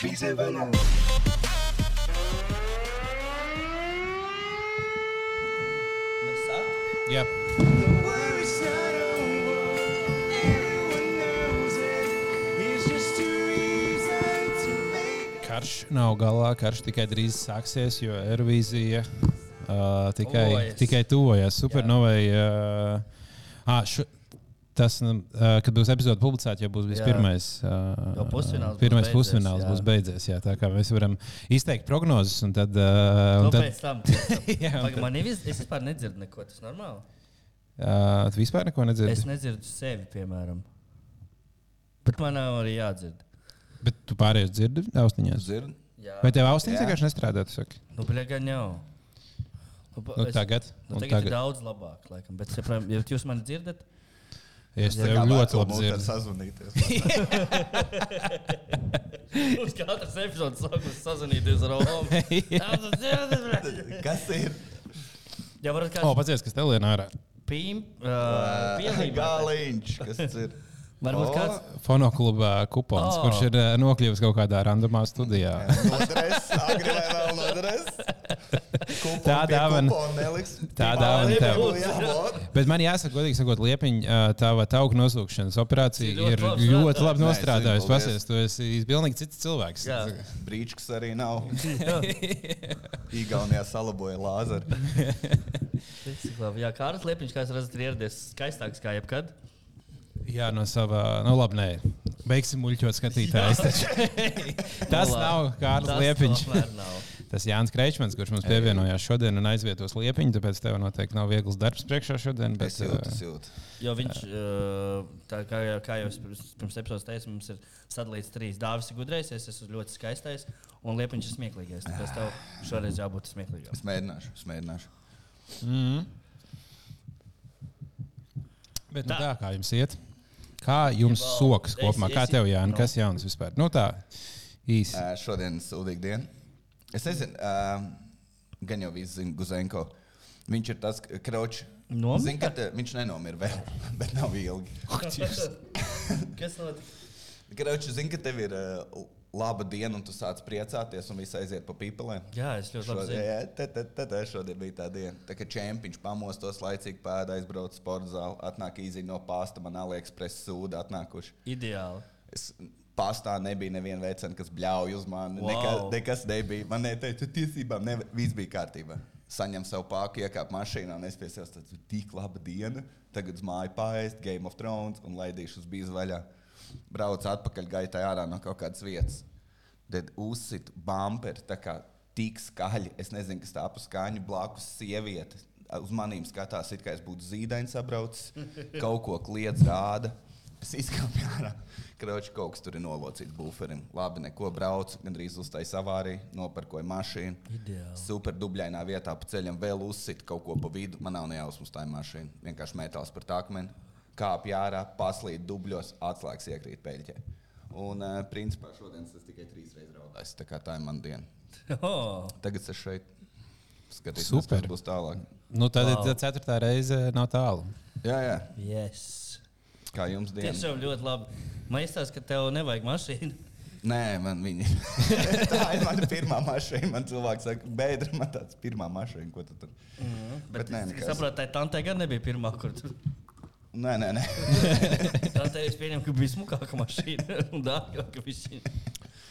Fize Venom. Yep. Karš nav galā, karš tikai drīz sāksies, jo Eirovīzija uh, tikai, Tuvojas. tikai tuvojas. Supernovai. Uh, ah, šu, tas, nu, uh, kad būs epizode publicēta, jau būs bijis Jā. pirmais. Jo Uh, pusfināls būs pirmais beidzies, pusfināls jā. būs beidzies. Jā, tā kā mēs varam izteikt prognozes un tad. Uh, Nu, un tad pēc tam. Jā, un Pagaid, tad- Man ir viss, es vispār nedzirdu neko. Tas normāli. uh, tu vispār neko Es nedzirdi. nedzirdu sevi, piemēram. Bet man nav arī jādzird. Bet tu pārējais dzirdi austiņās. Zirn? Jā, Vai tev austiņas Jā. vienkārši nestrādā? Tu saki, nu, bļaga, jau. Nu, pa- nu, es- tagad. Nu, un tagad, tagad ir daudz labāk, laikam. Bet, saprāt, ja jūs mani dzirdat, Es tev ļoti labi dzirdēju. dzirdu. Sazvanīties. uz katras epizodes sākums sazvanīties ar Romu. Kas ir? Jā, O, varat kāds oh, padzies, kas tev lien ārā. pīm, uh, pielīmēt. Gāliņš. Kas tas ir? Varbūt kāds Fonokluba kupons, O. oh. kurš ir eh, nokļuvis kaut kādā randomā studijā. Nodres, agri vai vēl nodres? Kupon Tā pie dāvana. kupona neliks. Tā Pie dāvana tev. kupona jābūt. Bet man jāsaka, godīgi sakot, liepiņa, eh, tā vai tā auga nosūkšanas operācija Tas ir ļoti ir labi ļoti strādājis. labi Nē, nostrādājusi. zinu, paldies. Pasies, tu esi pilnīgi cits cilvēks. Jā. Brīčks arī nav. Igaunijā salaboja lāzeru. Cik labi. Jā, Kāras Liepiņš, kā jūs redzat, ir ieradies skaistāks kā jebkad. Jā, no sava, nu labi, nē, beigsim muļķot skatītājus. taču. Tas Nu, nav labi. Kārlis Tas Liepiņš. tomēr nav. Tas Jānis Kreičmans, kurš mums pievienojās šodien un aizvietos liepiņu, tāpēc tev noteikti nav viegls darbs priekšā šodien. Bet, eh, Es jūtu, es jūtu. Jo viņš, uh, tā kā, jau- kā jau es pirms, pirms epizodes teicu, mums ir sadalīts trīs dāvis, ir gudrais, es esmu ļoti skaistais un liepiņš ir smieklīgais. Tāpēc tev šoreiz jābūt smieklīgam. Es mēģināšu, es mēģināšu. Mhm. Bet nu, Tā. tā kā jums iet? Kā jums Jebal, sokas es- kopumā? Kā es- tev, Jānis, nu. kas jauns vispār? Nu tā, īsi. Ē, Uh, Šodien ir sūdīga diena. Es nezinu, ā, gan jau viss zina Guzenko. Viņš ir tas kraučs. Nomira? Zinu, ka viņš nenomira vēl, bet nav ilgi. Kas notic? Kraučs, zinu, ka tev ir ā, l- laba diena, un tu sāc priecāties, un viss aiziet pa pipelēm. Jā, es ļoti labi zinu. Šodien, tā, tā, tā, tā, šodien bija tā diena. Tā kā čempions pamostos laicīgi, pēda aizbrauca uz sporta zāli, atnāk īziņā no pasta, man AliExpress sūda atnākuši. Ideāli. Es, Pastā nebija neviena vecena, kas bļauj uz mani. Wow. Wow. Nekā, nekas nebija. Man neteica, tiesībām ne, viss bija kārtībā. Saņem savu pāri, iekāp mašīnā un es piesēju. Tas bija tik laba diena. Tagad uz māju pāriest, Game of Thrones un laidīšu uz bīzu vaļā. Braucu atpakaļ gaitā ārā no kaut kādas vietas. Tad uzsit bumperi tā kā tik skaļi. Es nezinu, kas tā pa skaņu blakus sieviete. Uz manīm skatās, it kā es būtu zīdainis sabraucis, kaut ko kliedz rāda. Es izkāpu ārā. Kroķis kaut kas tur ir nolocīts buferim. Labi, neko braucu, gandrīz uztaisīju savārī, nopirkoju mašīnu. Ideāli. Super dubļainā vietā pa ceļam vēl uzsit kaut ko pa vidu. Man nav ne jausmas, tā ir mašīna. Vienkārši metāls par akmeni. Kāpj ārā, paslīd dubļos, atslēgas iekrīt peļķē. Un, uh, principā, šodien es tikai trīs reizes raudāju. Tā kā tā ir mana diena. Oh, Tagad es šeit skatīšos, Super. kas būs tālāk. Nu, tad wow. Wow. ir tā ceturtā reize, nav tālu. Jā, jā. yes. Kā jums diena? Tiešām ļoti labi. Man liekas, ka tev nevajag mašīnu. Nē, man viņa ir. tā ir mana pirmā mašīna. Man cilvēks saka, beidra, man tāds pirmā mašīna, ko tu tur. Mhm, Bet, Bet nē, bet es nekas. saprotu, tā tante gan nebija pirmā, kur tu. Nē, nē, nē. Tā te es pieņemu, ka bija smukāka mašīna un dārgāka mašīna.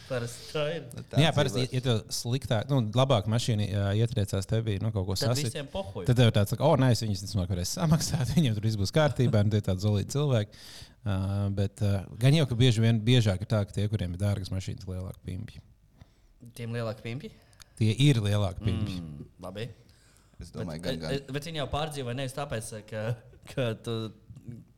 Parasti tā ir. Tāds Jā, parasti, cilvēks. ja tev sliktāk, nu, labāk mašīna ā, ietriecās tevī, nu, kaut ko Tad sasīt. visiem pohoju. Tad tev ir tāds, ka, oh, nē, es viņus nesmu varējis samaksāt, viņiem tur viss būs kārtībā, un tie ir tādi zelīti cilvēki. Uh, bet uh, gan jau, ka bieži vien biežāk ir tā, ka tie, kuriem ir dārgas mašīnas, ir lielāki pimpi. Tiem lielākiem pimpiem. Tie ir lielāki pimpi. Mm. Mm, labi. Es domāju, bet, gan, gan. e, Bet viņi jau pārdzīvoja nevis tāpēc, ka, ka tu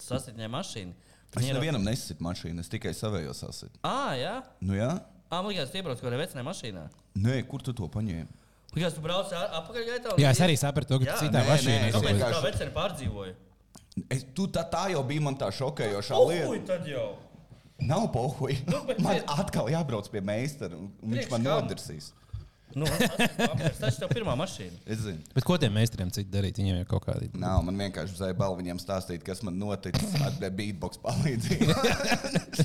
sasniedz mašīnu. Es Viņi ir- nevienam nesitu mašīnu, es tikai savējos asitu. Ā, jā. Nu, jā? Ā, man liekas, tu iebrauc kaut kādā vecinē mašīnā. Nē, kur tu to paņēmi? Man liekas, tu brauc ā- apakaļgaitā. un- Jā, es arī sapratu, to, ka Jā, jā, citā nē, nē, mašīnā es kaut Tāpēc ko- vienkārši- tā vecinē pārdzīvoja. Es, tu, tā, tā jau bija man tā šokējošā lieta. Ui, tad jau. Nav pohuļi. Nu, bet Man nē. atkal jābrauc pie meistara, un un viņš Priekš man kam? nodarsīs. Nu, tas ir tev pirmā mašīna. Es zinu. Bet ko tiem meistariem citu darīt? Viņiem jau kaut kādi. Nav, man vienkārši bija bail viņiem stāstīt, kas man noticis ar te beatbox palīdzību.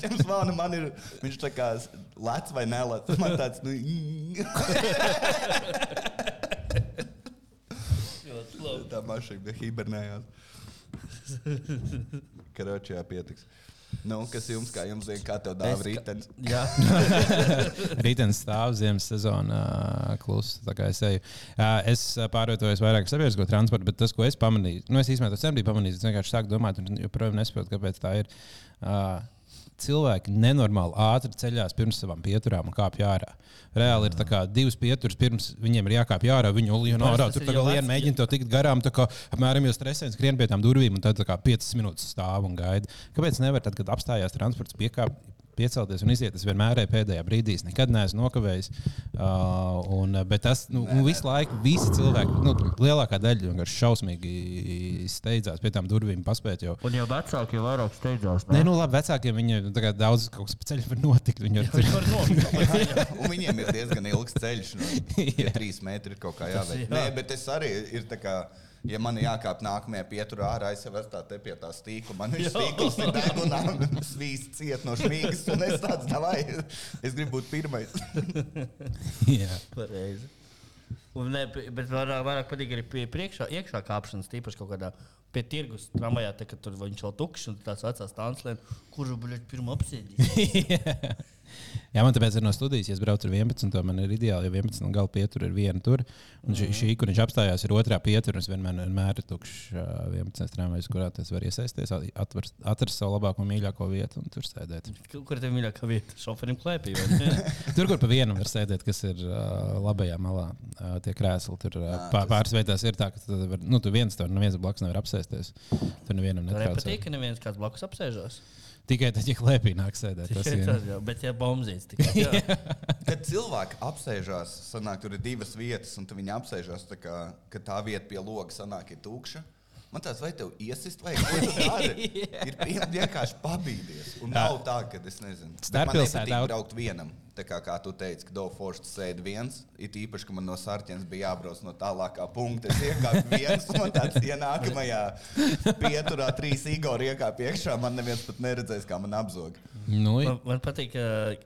Šim zvanu man ir, viņš tā kā lec vai nelec. Man tāds, nu, Ļoti labi. tā mašīna bija hibernējās. Karočijā pietiks. Nu, kas jums, kā jums zina, kā tev Es dāvā ka- rītdien? Jā, Rītdienas stāv ziemas sezonā klusa. tā kā Es, eju. Ā, es ā, pārvietojos vairāk sabiedrisko transportu, bet tas, ko es pamanīju, nu, es īstenībā to sen biju pamanījis. Es vienkārši sāku domāt, un joprojām nesaprotu, kāpēc tā ir. Ā, Cilvēki nenormāli ātri ceļās pirms savām pieturām un kāpj ārā. Reāli ir tā kā divas pieturas, pirms viņiem ir jākāpj ārā. Viņu olīna Parasti ārā. tas Tur ir tā jau kā liena vecs- mēģina to tikt garām. Tā kā apmēram jau stresēns skrien pie tām durvīm un tad tā kā 5 minūtes stāv un gaida. Kāpēc nevar tad, kad apstājās transports, piekāpties? piecelties un iziet. Es vienmēr biju pēdējā brīdī, es nekad neesmu nokavējis. Uh, un, uh, bet tas nu, un visu laiku, visi cilvēki, nu, lielākā daļa vienkārši šausmīgi steidzās pie tām durvīm, paspēt jau. un jau vecāki jau vairāk steidzās. Nē, nu labi, vecākiem viņiem tagad daudz kaut kas pa ceļu var notikt. Viņi jau Tur var nomirt. Un viņiem ir diezgan ilgs ceļš. Nu, ja trīs metri ir kaut kā jā. jāveic. Nē, bet es arī ir tā kā. Ja man ir jākāp nākamajā pieturā ārā, es jau esmu tā te pie tā stīkla. Man ir Jā. stīkls, ir degunā, un svīst ciet no šmīgas, un es tāds, davai, es gribu būt pirmais. ir. Pareizi. Un, ne, bet vairāk, vairāk patīk arī pie priekšā, iekšā kāpšanas, tīpaši kaut kādā pie tirgus tramvajā, te, kad tur viņš vēl tukšs un tāds vecās tāns lēns, kurš buļļot pirmo apsēdīs. Jā, man tāpēc ir no studijas, ja es braucu ar 11, tad man ir ideāli, ja 11 gala pietur ir viena tur. Un Mm. šī, šī kur viņš apstājās, ir otrā pietur, un es vienmēr, vienmēr ir tukšs ā, 11 tramvajs, kurā tas var iesaisties, at- atver- atrast savu labāko, mīļāko vietu un tur sēdēt. Kur tev mīļākā vieta? Šoferim klēpī. vai ne? Tur, kur pa vienam var sēdēt, kas ir uh, labajā malā, uh, tie krēsli. Tur uh, pā, pāris vietās ir tā, ka tu, var, nu, tu viens tur neviens blakus nevar apsēsties. Tur nevienam Tev Nepatīk, nepatīk. ka neviens kāds blakus apsēžās. Tikai tad, ja klēpī nāk sēdēt, tas ir. Tas jau, bet ja bombzīts tikai. jā. Kad cilvēki apsēžās, sanāk, tur ir divas vietas, un tad viņi apsēžās, tā kā, ka tā vieta pie loga sanāk ir tukša. Man tāds, vai tev iesist, vai ko tu dari? Ir pie- vienkārši pabīdies. Un nav tā, ka es nezinu. Bet man Starppilsētā- nepatīk braukt vienam. Tā kā, kā tu teici, ka Dofošs sēž viens, ir īpaši, ka man no Sārķienas bija jābrauc no tālākā punkta. Es iekāpu viens, un man tāds ienākamajā pieturā trīs Igori iekāpu iekšā. Man neviens pat neredzēs, kā man apzog. Nu, Man, man patīk, ka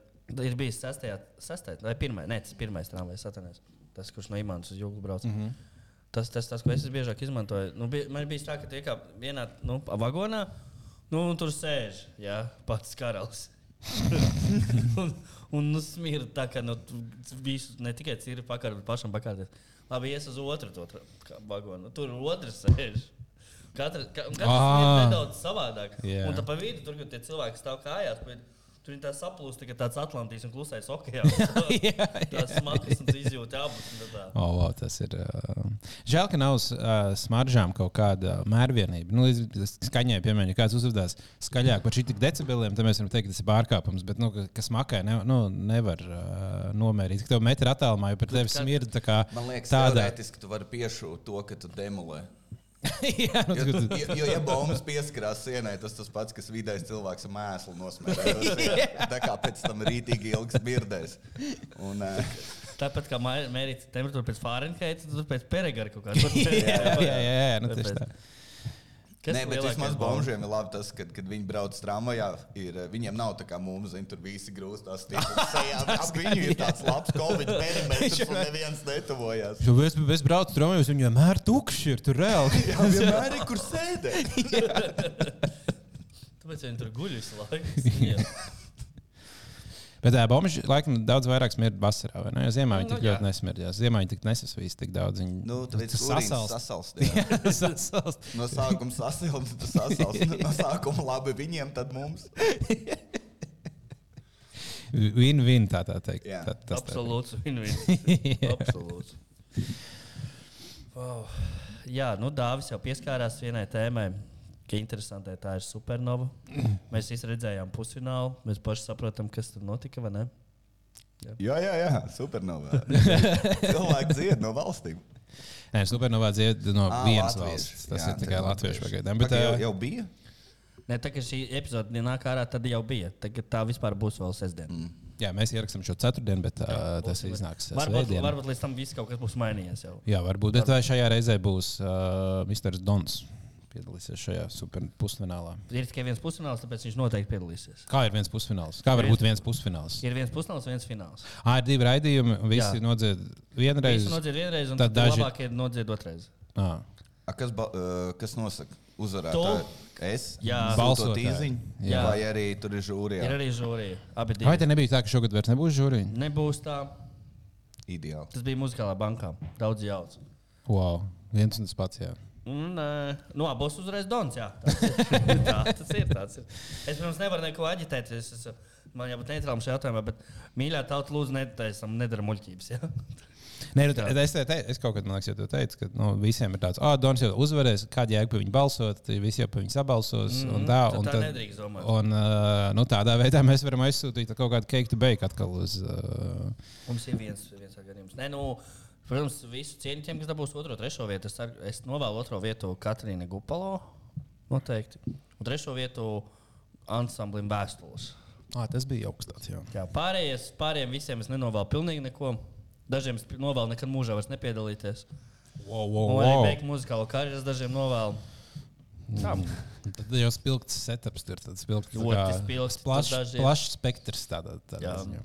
ir bijis sastajā, sastajā vai pirmā, ne, tas pirmais tramvajs satanēs. Tas, kurš no Imānas uz Jūgu brauc. Mhm. Mm -hmm. Tas, tas, tas, ko es biežāk izmantoju, nu, bija, man bija tā, ka tie kā vienā nu, vagonā, nu, un tur sēž jā, pats karalis. un un nu, smirda tā, ka nu, tu visu, ne tikai ir pakaļ, bet pašam pakaļ. Labi, ies uz otru to tra- kā vagonu. Tur otrs sēž. Katra, ka, un katrs ir Ā. nedaudz savādāk. Jā. Yeah. Un tā pa vidu, tur, kur tie cilvēki stāv kājās, bet tur viņi tā saplūst, ka tāds Atlantijas un klusais okeāns. jā, Tās smagas un tu izjūti abus. un tad tā. Oh, wow, tas ir. Uh, žēl, ka nav uz uh, smaržām kaut kāda mērvienība. Nu, līdz tas skaņai, piemēram, ja kāds uzvedās skaļāk par šitiem decibeliem, tad mēs varam teikt, ka tas ir pārkāpums. Bet, nu, ka- kas makai ne, nu, nevar uh, nomērīt, ka tev metru attālumā jau par tevi kā- smirda tā kā Man liekas, tādā. teorētiski tu vari piešūt to, ka tu demolē. Jā, nu, Jo, tu- tu- jo, ja bombas pieskarās sienai, tas tas pats, kas vidējais cilvēks ar mēslu nosmērē. Tā kā pēc tam rītīgi ilgs birdēs. Un, uh, Tāpat kā mē- mērīt temperatūru pēc Fahrenheita, tad tur pēc Peregara kaut kā. Tur jā, jā, jā, jā, nu, tieši tā. Nē, bet vismaz bombžiem ir labi tas, ka, kad viņi brauc tramvajā, ir, eh, viņiem nav tā kā mums, zin, tur visi grūstās stīpus sejā. Ap viņu ir tāds labs covid perimetrs, un neviens netuvojās. Jo es, es braucu strūmējos, viņu vienmēr tukšs ir tur reāli. Jā, vienmēr ir kur sēdēt. Tāpēc viņi tur guļ visu laiku. Bet tā bomba laikam daudz vairāk smirda vasarā. vai Ne? Jo Ziemā viņi Nu, tik jā. ļoti nesmirdās. Ziemā viņi tik nesasvīst tik daudz. Viņi Nu, tāpēc tas urīns sasalst. sasalst. jā. Sasalst. No sākuma sasilst, tad sasalst. No sākuma labi viņiem, tad mums. Win-win tā, tā teikt. Jā. tā, tas tā ir. Absolūts win-win. Absolūts. Wow. Jā, nu Dāvis jau pieskārās vienai tēmai. Kā interesantai tā ir supernova. Mēs visi redzējām pusfinālu. Mēs paši saprotam, kas tur notika. vai ne? Jā, jā, jā, supernovā. Cilvēki dzied no valstīm. Nē, supernovā dzied no Ā, vienas latvieši. valsts. Tas Ah, Jā, ir tikai tad latviešu latvieši. pagaidām. Bet, Pagaid, ā, jau, jau bija. Ne, tā kā šī epizode nāk ārā, tad jau bija. Tagad tā vispār būs vēl sestdiena. Mm. Jā, mēs ierakstām šo ceturtdienu, bet uh, tas iznāks uh, Varbūt, svētdien. varbūt līdz tam viss kaut kas būs mainījies. Jau. Jā, varbūt. Bet vai šajā reizē būs uh, Mr. Dons piedalīsies šajā super pusfinālā? Ir tikai viens pusfināls, tāpēc viņš noteikti piedalīsies. Kā ir viens pusfināls? Kā var Viens- būt viens pusfināls? Ir viens pusfināls, viens fināls. Ā, ir divi raidījumi, visi Jā. nodzied Viņš vienreiz. nodzied vienreiz, un Tad tad daži- daži... labāk ir nodzied otrreiz. Ā. A, kas, ba, uh, kas nosaka? Uzvarētāji. Es Jā. balsotu Balsotāji. īziņu, Jā. vai arī tur ir Jā. Ir žūrija. arī žūrija. Abi Vai divi. te nebija tā, ka šogad vairs nebūs žūrija? Nebūs tā. Ideāli. Tas bija muzikālā bankā. Daudz jauts. Wow, viens un tas pats. Jā. Un, eh, nu, abos uzreiz dons. Jā, tas ir. tā, tas ir, tāds ir. Es, protams, nevaru neko aģitēt. Es, es, man jābūt neitrālam šajā jautājumā, bet mīļā tauta, lūdzu, netaisam, nedara muļķības. Jā. Nē, nu, es, te teicu, es kaut kādā brīdī jau te teicu, ka nu, visiem ir tāds, ah, Dons jau uzvarēs, kāda jēga par viņu balsot, tad visi jau par viņu sabalsos. Mm, un tā, tad un tā nedrīkst domāt. Un, uh, nu, tādā veidā mēs varam aizsūtīt kaut kādu cake to bake atkal uz. Uh, Mums ir viens, viens gadījums. Nē, nu, protams, visu cieņu tiem, kas dabūs otro, trešo vietu. Es, ar- es novēlu otro vietu Katrīnai Gupalo. Noteikti. Un trešo vietu ansamblim Vēstules. ah, tas bija jauks tāds, jā. Jā, pārējais, pārējiem visiem es nenovēlu pilnīgi neko. Dažiem es pi- novēlu nekad mūžā vairs nepiedalīties. Wow, wow, Un arī wow. beigt muzikālo karjeru es dažiem novēlu. Tā, Tad jau spilgts setups tur, tad spilgts. Ļoti spilgts, tur Plašs daži- plaš spektrs tādā. tādā Jā. ziņā.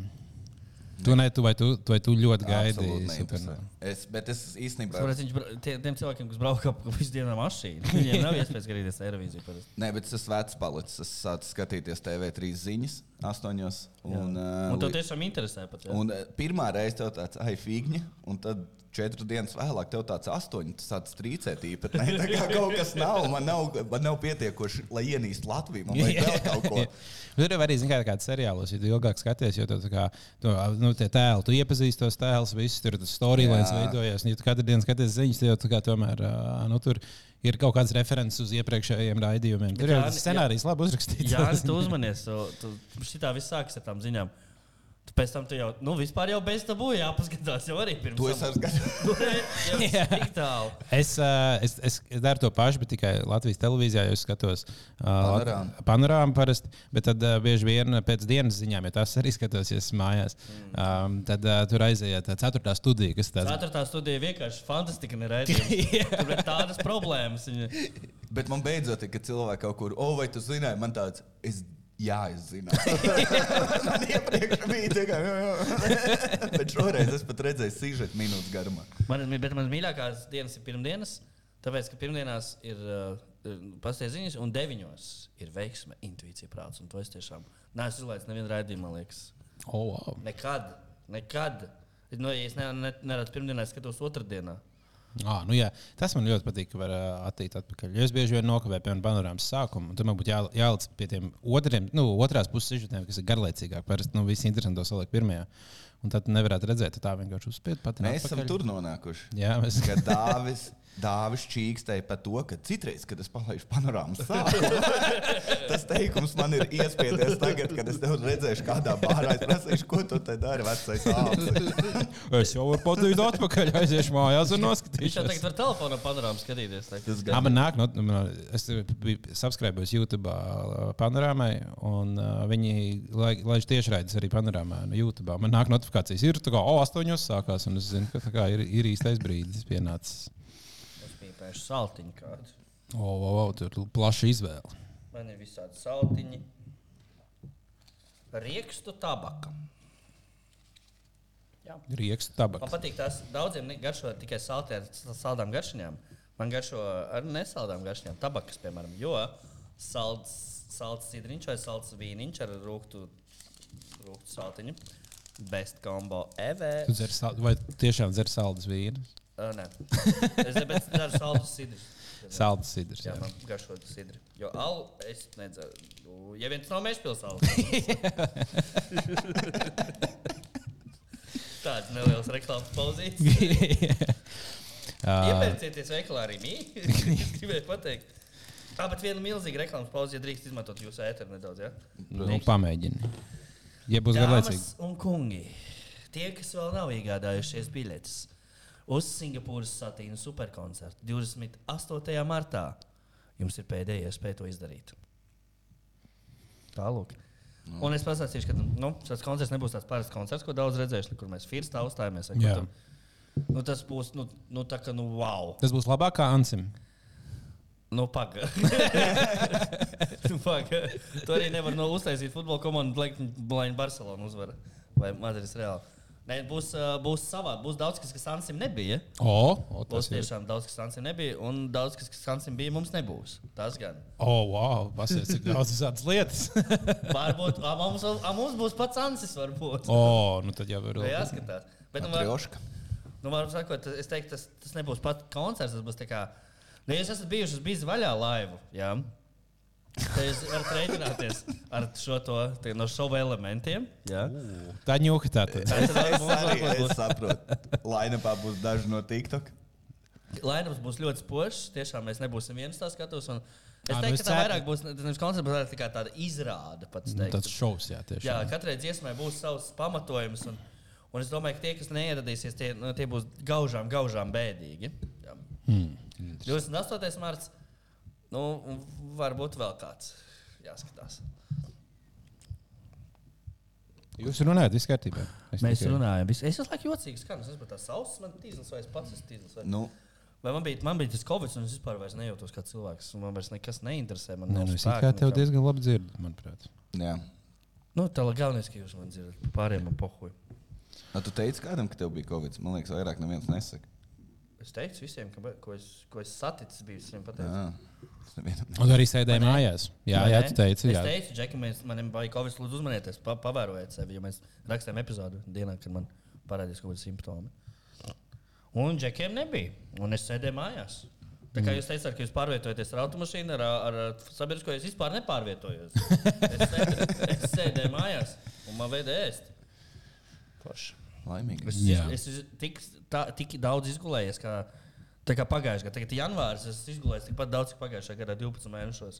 tu, ne, tu, vai tu, tu, vai tu ļoti Absolūti gaidi? neinteresē. Super- Es, bet es īstenībā. Tāpēc viņš bra- tie- tiem cilvēkiem, kas brauc ap visu dienu ar mašīnu, viņiem nav iespējas skatīties televīziju. parasti. Nē, bet tas vecs palicis. Es sāku skatīties TV3 ziņas, astoņos. Un, uh, Un tev li- tiešām interesē pat. jā. un uh, pirmā reize tev tāds ah, figņa, un tad četras dienas vēlāk tev tāds astoņi. Tas tāds trīcēt īpatnē. Tā kā kaut kas nav, man nav, man nav pietiekoši, lai ienīstu Latviju. Man vajag vēl kaut ko. Nu, Tur jau arī zina, kā kāda seriālos, ja tu ilgāk skaties, jo tur kā, tu, nu, tie tēli, tu iepazīsti tos tēlus, visus tur tas storylines Jā. veidojas. un Ja tu katru dienu skaties ziņas, tad jau tā kā tomēr ā, nu, tur ir kaut kāds references uz iepriekšējiem raidījumiem. Tur jau Jāni- tas scenārijs labi uzrakstīts. Jā, tu uzmanies. tu- tu- Šitā viss sākas ar tām ziņām. Tu pēc tam tu jau, nu, vispār jau bez tabū jāpaskatās. Jau arī pirms To es tam. arī skatos. Nu, ne, jau Jā. tik tālu. Es, ā, es, es, es daru to pašu, bet tikai Latvijas televīzijā jau skatos Panorāmu. panorāmu. Panorāmu parasti, bet tad ā, bieži vien pēc dienas ziņām, ja tās arī skatos, ja esmu mājās, Mm. ā, tad ā, tur aiziet tā ceturtā studija, kas ir tāds. Ceturtā studija vienkārši fantastika neredzēja. Tur ir tādas problēmas. Viņa. Bet man beidzot, ir, kad cilvēki kaut kur, oh, vai tu zināji, man tāds, es, jā, es zināju. man iepriekš bija tā, kā, jā, jā. bet šoreiz es pat redzēju sižetu minūtes garumā. Man, bet manas mīļākās dienas ir pirmdienas, tāpēc, ka pirmdienās ir uh, pastāstījums, un deviņos ir veiksme, intuīcija, prāts. Un to es tiešām neesmu izlaidis nevienu raidījumu, man liekas. Oh, wow. Nekad, nekad. Nu, ja es ne, ne, neredzu pirmdienā, es skatos otrdienā. Ah, nu jā, tas man ļoti patīk, ka var ā, attīt atpakaļ. Jo es bieži vien nokavēju pie panorāmas sākuma, un tur man būtu jā, jāliec pie tiem otriem, nu, otrās puses sižetiem, kas ir garlaicīgāk. Parasti nu, viss interesants saliek pirmajā. Un tad nevarētu redzēt, tā vienkārši uzspiež pat. Mēs esam tur nonākuši. Jā, mēs Kad Dāvis, Dāvis čīkstēja par to, ka citreiz, kad es palaidu panorāmas sāpes, tas teikums man ir iespējams tagad, kad es tev redzēšu, kādā bārā es prasīšu, ko tu te dari, vecais sāpes. Es jau varu pateikt, atpakaļ aiziešu mājās un Viņš jau noskatīšos. tagad var telefonā panorāmu skatīties. tā kā- Tas Jā, gan Ah, man nāk, no, man, es biju subscribējis YouTube panorāmai, un uh, viņi lai- laiž tiešraides arī panorāmā no YouTube. Man nāk notifikācijas, ir tā kā, o, astoņos sākās, un es zinu, ka tā kā ir, ir īstais brīdis pienācis. Es biju pēkšņi saltiņu kādu. O, o, o, tur ir plaša izvēle. Man ir visādi saltiņi. Riekstu tabaka. Jā. Riekstu Man tabaks. patīk tās daudziem ne- garšo tikai salti ar s- saldām garšām. Man garšo ar nesaldām garšām, tabakas, piemēram, jo salds, salds sidriņš vai salds vīniņš ar rūktu, rūktu saltiņu. Best combo ever. Tu dzer sal- Vai tu tiešām dzer saldus vīnu? Uh, nē, es tāpēc daru saldu sidri. Saldus sidrs. Jā, Jā. man garšo sidri. Jo alu es nedzeru. Ja viens nav mežpilsēta. Tāds neliels reklāmas pauzīts. Ā, Iepērcieties veikalā arī mīļi. Es gribēju pateikt. Tā, bet viena milzīga reklāmas pauze, ja drīkst izmantot jūsu ēteru nedaudz. Ja? Nu, pamēģini. Ja būs garlaicīgi. Dāmas un kungi, tie, kas vēl nav iegādājušies biļetes uz Singapūras satīna superkoncertu 28. martā, jums ir pēdējā iespēja to izdarīt. Tālāk. Mm. Un es pasakīšu, ka nu, tas koncerts nebūs tāds parasts koncerts, ko daudz redzējuši, kur mēs firstā uzstājāmies. vai kur Jā. tur. Nu, tas būs, nu, nu tā kā, nu, wow! Tas būs labāk kā Ansim. Nu, pagaidi. Paga. Tu arī nevari no uztaisīt futbola komandu, lai Blaiņa Barcelona uzvar vai Madrids Reāli. Nē, būs, ā, būs savādi. Būs daudz, kas, kas Ansim nebija. O, o Būs tas ir. tiešām daudz, kas Ansim nebija, un daudz, kas, kas Ansim bija, mums nebūs. Tas gan. O, wow, pasies, cik daudz visādas lietas. Varbūt, a, mums, vēl- a, mums būs pats Ansis, varbūt. O, nu tad jau ir. Jā, skatās. Bet, nu, var- Trioška. Nu, varam sakot, es teiktu, tas, tas nebūs pat koncerts. Tas būs tā kā. Nu, ja jūs esat bijuši uz bīzdas vaļā laivu, jā, tad jūs varat rēķināties ar šo to te, no šova elementiem. Jā. Tā ņūka tā tad. Tas ir Es arī mums es būs- saprotu. Lainapā būs daži no TikTok. Lainums būs ļoti spožs. Tiešām mēs nebūsim viens tā skatus. un Es Ā, nu, teiktu, es ka tā ceru- vairāk būs nevis koncerts, bet vairāk tā kā tāda izrāde pats. Nu, teiktu. Tāds šovs, jā, Jā, tiešām. katrai dziesmai būs savs pamatojums. Un, un es domāju, ka tie, kas neieradīsies, tie, nu, tie būs gaužām, gaužām bēdīgi. Jā. Hmm, 28. marts, nu, un varbūt vēl kāds jāskatās. Jūs runājat, viss kārtībā. Es tikai- runājam, es visu laiku jocīgi skanu, es esmu tās ausis, man tīzlis vai es pats esmu tīzlis. Vai... Nu, vai man bija, man bija tas covid, un es vispār vairs nejūtos kā cilvēks, un man vairs nekas neinteresē. Man Nē, nav nu, es spēka kā tev nekam. diezgan labi dzirdu, manuprāt. jā. Nu, tā lai galvenais, ka jūs man dzirdat, pārējiem man pohuj. Nu, tu teici kādam, ka tev bija Covid. Man liekas, vairāk neviens nesaka. Es teicu visiem, ka, ko es, ko es saticis, biju visiem pateicis. Jā. Es nevienam ne- Un tu arī sēdēji mājās. Jā, Vai jā, ne? tu teici. Es Jā. teicu, Džek, mēs manam bija Covid, lūdzu, uzmanieties, pa, pavērojiet sevi, jo mēs rakstām epizodu dienā, kad man parādījās kaut kādi simptomi. Un Džekiem nebija, un es sēdēju mājās. Tā Mm. kā jūs teicāt, ka jūs pārvietojaties ar automašīnu, ar, ar ar sabiedrisko, es vispār nepārvietojos. Es sēdēju, es sēdēju mājās, un man vajadzēja ēst. Forši. Laimīgi. Es, Jā. es, es tik, tā, tik daudz izgulējies, kā, tā kā pagājušajā gadā. Tagad ir janvāris, es esmu izgulējis tikpat daudz, cik pagājušajā gadā, 12 mēnešos.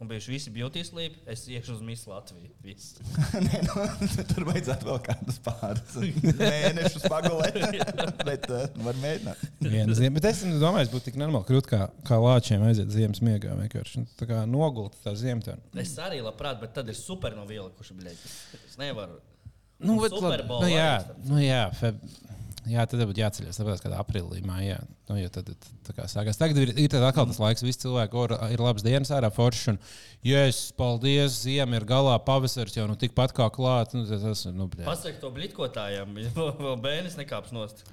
Un bijuši visi beauty sleep, es iekšu uz Miss Latviju. Viss. Nē, nu, tur vajadzētu vēl kādus pāris mēnešus pagulēt. Bet uh, var mēģināt. Viens ziem- Bet es domāju, būtu tik normāli krūt, kā, kā lāčiem aiziet ziemas miegā. Vienkārši Nu, tā kā nogulta tā ziemta. Es arī labprāt, bet tad ir super no vilkuši, bļaļ. Es nevaru. Nu, Un bet, Super labi, Bowl nu, jā, arī, nu, jā, feb... jā, tad būtu jāceļas. Tāpēc, kad aprīlī mājā, nu, jo tad, tad tā kā sākās. Tagad ir, ir tad atkal tas laiks, visi cilvēki or, ir labs dienas ārā forši. Un, yes, paldies, ziema ir galā, pavasaris jau nu, tikpat kā klāts. Nu, tas, tas, nu, bļē. Pasak to blitkotājiem, jo vēl bērns nekāps nost.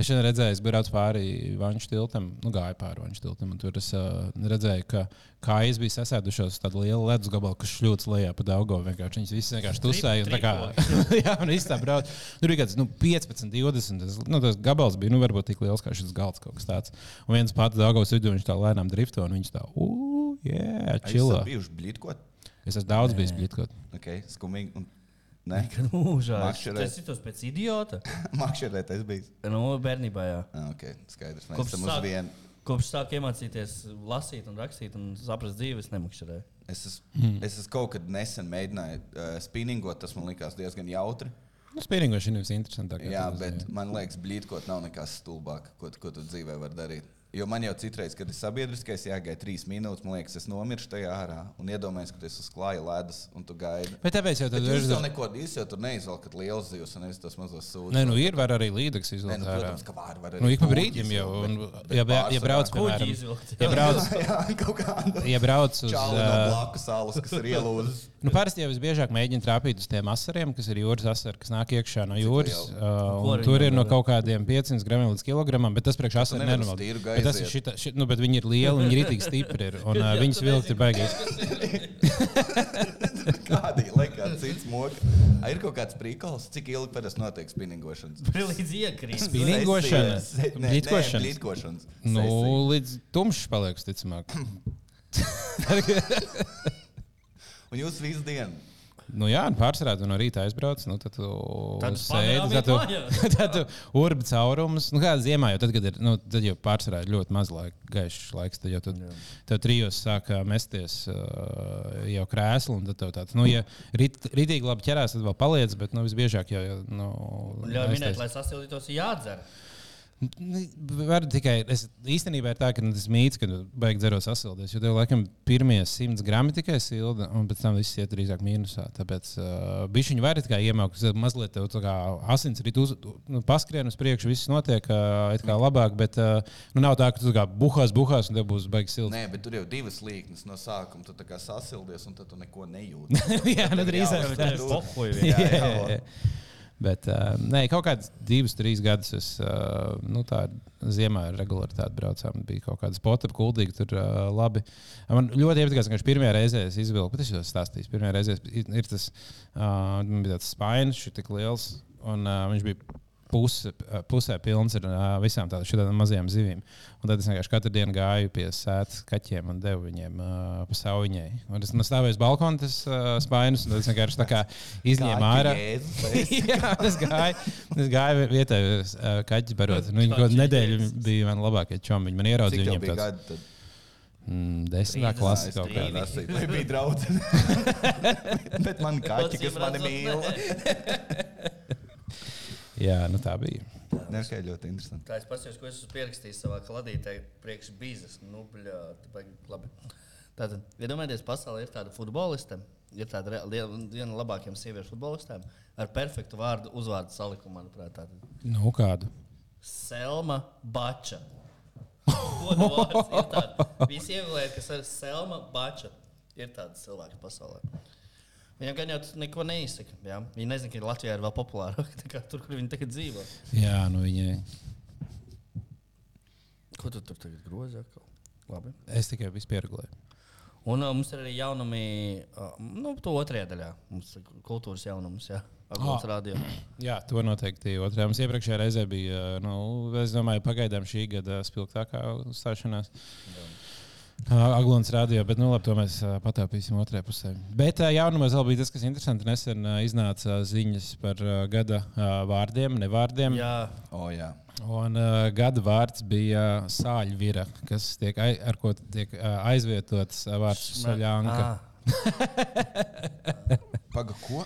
Es šodien redzēju, es braucu pāri Vanšu tiltam, nu, gāju pāri Vanšu tiltam, un tur es uh, redzēju, ka kājas bija sasēdušās uz tādu lielu ledus gabalu, kas šļūts lejā pa daugo. Vienkārši. Viņas visas vienkārši tusēja. un tā kā- Jā, un viss tā brauc. Tur bija kāds nu, 15, 20. Tas, nu, tas gabals bija nu, varbūt tik liels kā šis galds kaut kas tāds. Un viens pats daugos vidū viņš tā lēnām drifto, un viņš tā, uu, jā, Ai, jūs esat čilā. bijuši blīdkot. Es esmu daudz bijis blitkot. Okay, skumīgi. Un... Nē, Mūžās. Makšķerēt. Tas ir tos pēc idiota. mākslinieks tas bija. Nu, bērnībā jā. Okay, Ah, skaidrs, mēs Kopš esam uz sāk- vienu. Kopš sāk iemācīties lasīt un rakstīt un saprast dzīves nemukšķerēju. Es esmu, es esmu kaut kad nesen mēģinājis uh, spinningot, tas man likās diezgan jautri. Nu, Spīringoši ir interesantāk. Jā, bet man liekas, blīdkot nav nekas stulbāk, ko, ko tu dzīvē vari darīt. Jo man jau citreiz, kad ir sabiedriskais, jāgaida trīs minūtes, man liekas, es nomiršu tajā ārā un iedomājos, ka tu esi uz klāja ledus un tu gaidi. Bet tāpēc jau Bet tad jūs ir. jau neko, jūs jau tur neizvelkat liels zivs un nevis tos mazos sūdzības. Nē, nu ir, var arī līdzekas Nē, nu, izvēlēties. protams, ka var, var arī Nu, ik pa kūģis brīdim jau, izvilkt, un, bet- bet ja, ja, ja pārsvarā- brauc, piemēram, Kuģi izvilkt. ja brauc, Jā, kaut kāda. ja brauc uz. Čāli no Uh, blakus salas, kas ir ielūzis. nu, parasti jau visbiežāk mēģina trāpīt uz tiem asariem, kas ir jūras asari, kas nāk iekšā no jūras. liela? Uh, Ko un viņi tur ir no dara? kaut kādiem 500 gramiem līdz kilogramam, bet tas priekš asari nevari uz nenormāli. tīru Bet Tas ir gaiziet. šita, šit, nu, bet viņi ir lieli, viņi ir rītīgi stipri. Ir, un uh, viņas vilkt ir baigās. Kādi ir kāds cits moks? Ir kaut kāds prikals, cik ilgi parasti notiek spinningošanas. Līdz iekrīt. Spinningošana? Sesijas. Nē, Blītkošana? nē, Blītkošanas. Nu, Sesijas. līdz tumšs paliek, ticamāk. Un jūs visu dienu. Nu jā, un pārsvarā tu no rīta aizbrauc, nu tad tu Tad sēdi, pagrāvīt tad tu, mājās. tad tu urbi caurumus. Nu kā ziemā, jo tad, kad ir, nu, tad jau pārsvarā ir ļoti maz laika, gaišs laiks, tad jau tu, tev trijos sāk ā, mesties ā, jau krēslu, un tad tev tāds, nu, ja rit, ritīgi labi ķerās, tad vēl paliec, bet, nu, visbiežāk jau, jau nu, Ļauj minēt, aiztais- lai sasildītos, ir jādzer. Nu, Var tikai, es īstenībā ir tā, ka nu, tas mīts, ka beigas dzerot sasildies. Jo tev laikam pirmie simts grami tikai silda, un pēc tam viss iet drīzāk mīnusā. Tāpēc uh, bišķiņi var tikai iemākt, mazliet tev tā kā asins ir uz, nu, paskrien uz priekšu, viss notiek uh, it kā labāk, bet uh, nu, nav tā, ka tu tā kā buhās, buhās, un tev būs beigas silda. Nē, bet tur jau divas līknes no sākuma. Tu tā kā sasildies, un tad tu neko nejūti. Jā, nu drīzāk Jā, tā. jā, Pohuļi. jā, Jā, jā. jā. Bet, uh, nē, kaut kādas divas, trīs gadus es uh, nu, tā ziemā ar regulāritāti braucām. Bija kaut kāda spota, kuldīga, tur uh, labi. Man ļoti iepatikās, ka viņš pirmajā reizē es izvilku, bet es jau stāstīju, pirmajā reizē es- ir, ir tas, uh, man bija tāds spainis, šis tik liels, un uh, viņš bija puse, eh, pusē pilns ar ā, visām tādām šitām mazajām zivīm. Un tad es vienkārši katru dienu gāju pie sēdes kaķiem un devu viņiem ā, pa sauņai. Un es man stāvēju uz balkona, tas ā, spainus, un tad es vienkārši tā kā izņēmu ārā. Jā, es gāju, es gāju vietējos ā, kaķus barot. Nu, Viņi kaut kādu nedēļu bija man labākie čomi. Viņi man Cik ieraudzīja tev viņiem bija tāds gadi? tad? mm, desmitā klasa kaut Jā, kādā. tas ir. Vai bija draudzene? Bet man kaķi, kas mani mīl. Jā, nu tā bija. Nē, kā ļoti interesanti. Tā es paskatījos, ko esmu pierakstījis savā kladītē, priekš biznes. Nu, bļā, tā baigi labi. Tātad, iedomājieties, pasaulē ir tāda futboliste, ir tāda rea- liela- viena no labākajām sieviešu futbolistēm ar perfektu vārdu uzvārdu salikumu, manuprāt. Tātad. Nu, kādu? Selma Bača. Ko tu vārds ir tāds? Visi ievēlēt, kas ir Selma Bača. Ir tādas cilvēki pasaulē. Viņam gan jau tas neko neizsaka. Jā? Viņi nezina, ka Latvijā ir vēl populārāk nekā tur, kur viņi tagad dzīvo. Jā, nu viņai. Ko tu tur tagad grozi? atkal? Labi. Es tikai visu pieregulēju. Un uh, mums ir arī jaunumi, uh, nu, to otrajā daļā. Mums ir kultūras jaunums, jā. Ah. Agūtas rādījums. Jā, to noteikti otrā. Mums iepriekšējā reizē bija, nu, es domāju, pagaidām šī gada spilgtākā uzstāšanās. Aglons rādīja, bet nu, labi, to mēs ā, pataupīsim otrajā pusē. Bet ā, jaunumos vēl bija tas, kas interesanti. Nesen ā, iznāca ziņas par ā, gada ā, vārdiem, nevārdiem. Jā, O, jā. Un uh, gada vārds bija sāļvira, kas tiek, ai- ar ko tiek uh, aizvietots uh, vārds saļānka. Ah. Paga, ko?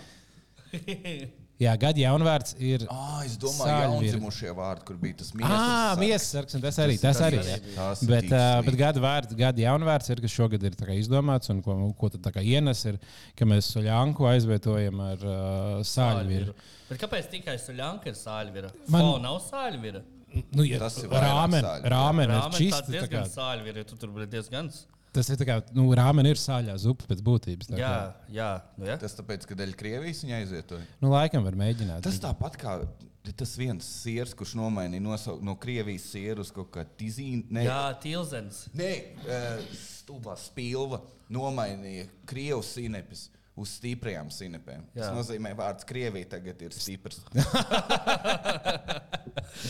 Jā, gada jaunvārds ir. Ah, es domāju, Sāļvīri. jaundzimušie vārdi, kur bija tas Ah, miesas miesasargs, un tas arī. Tas, tas arī, jā. Tas ir Bet, tik uh, slikti. bet gada, vārds, gada jaunvārds ir, kas šogad ir tā kā izdomāts un ko, ko tad tā kā ienes, ir, ka mēs soļānku aizvietojam ar uh, sāļvīru. Sāļvira. Bet kāpēc tikai Suļanka ir sāļvira? Man- Man... O, nav sāļvira. Nu, ja, Tas ir vairāk rāmen, sāļu. rāmen ir Rāmen tā čist, tā kā, diezgan sāļvira, ja tu tur bija diezgan. s- tas ir tā kā, nu, rāmen ir sāļā zupa pēc būtības. tā kā. Jā, jā. Nu, jā. Tas tāpēc, ka dēļ Krievijas viņa aizietoja. Nu, laikam var mēģināt. Tas tāpat kā tas viens siers, kurš nomainīja nosau- no Krievijas sieru uz kaut kādu tizīnu. Nē, jā Tilzens. nē eh, stulbā spilva nomainīja Krievu sinepes. Uz stiprajām sinepēm. Tas Jā. nozīmē, ka vārds Krievijai tagad ir stiprs.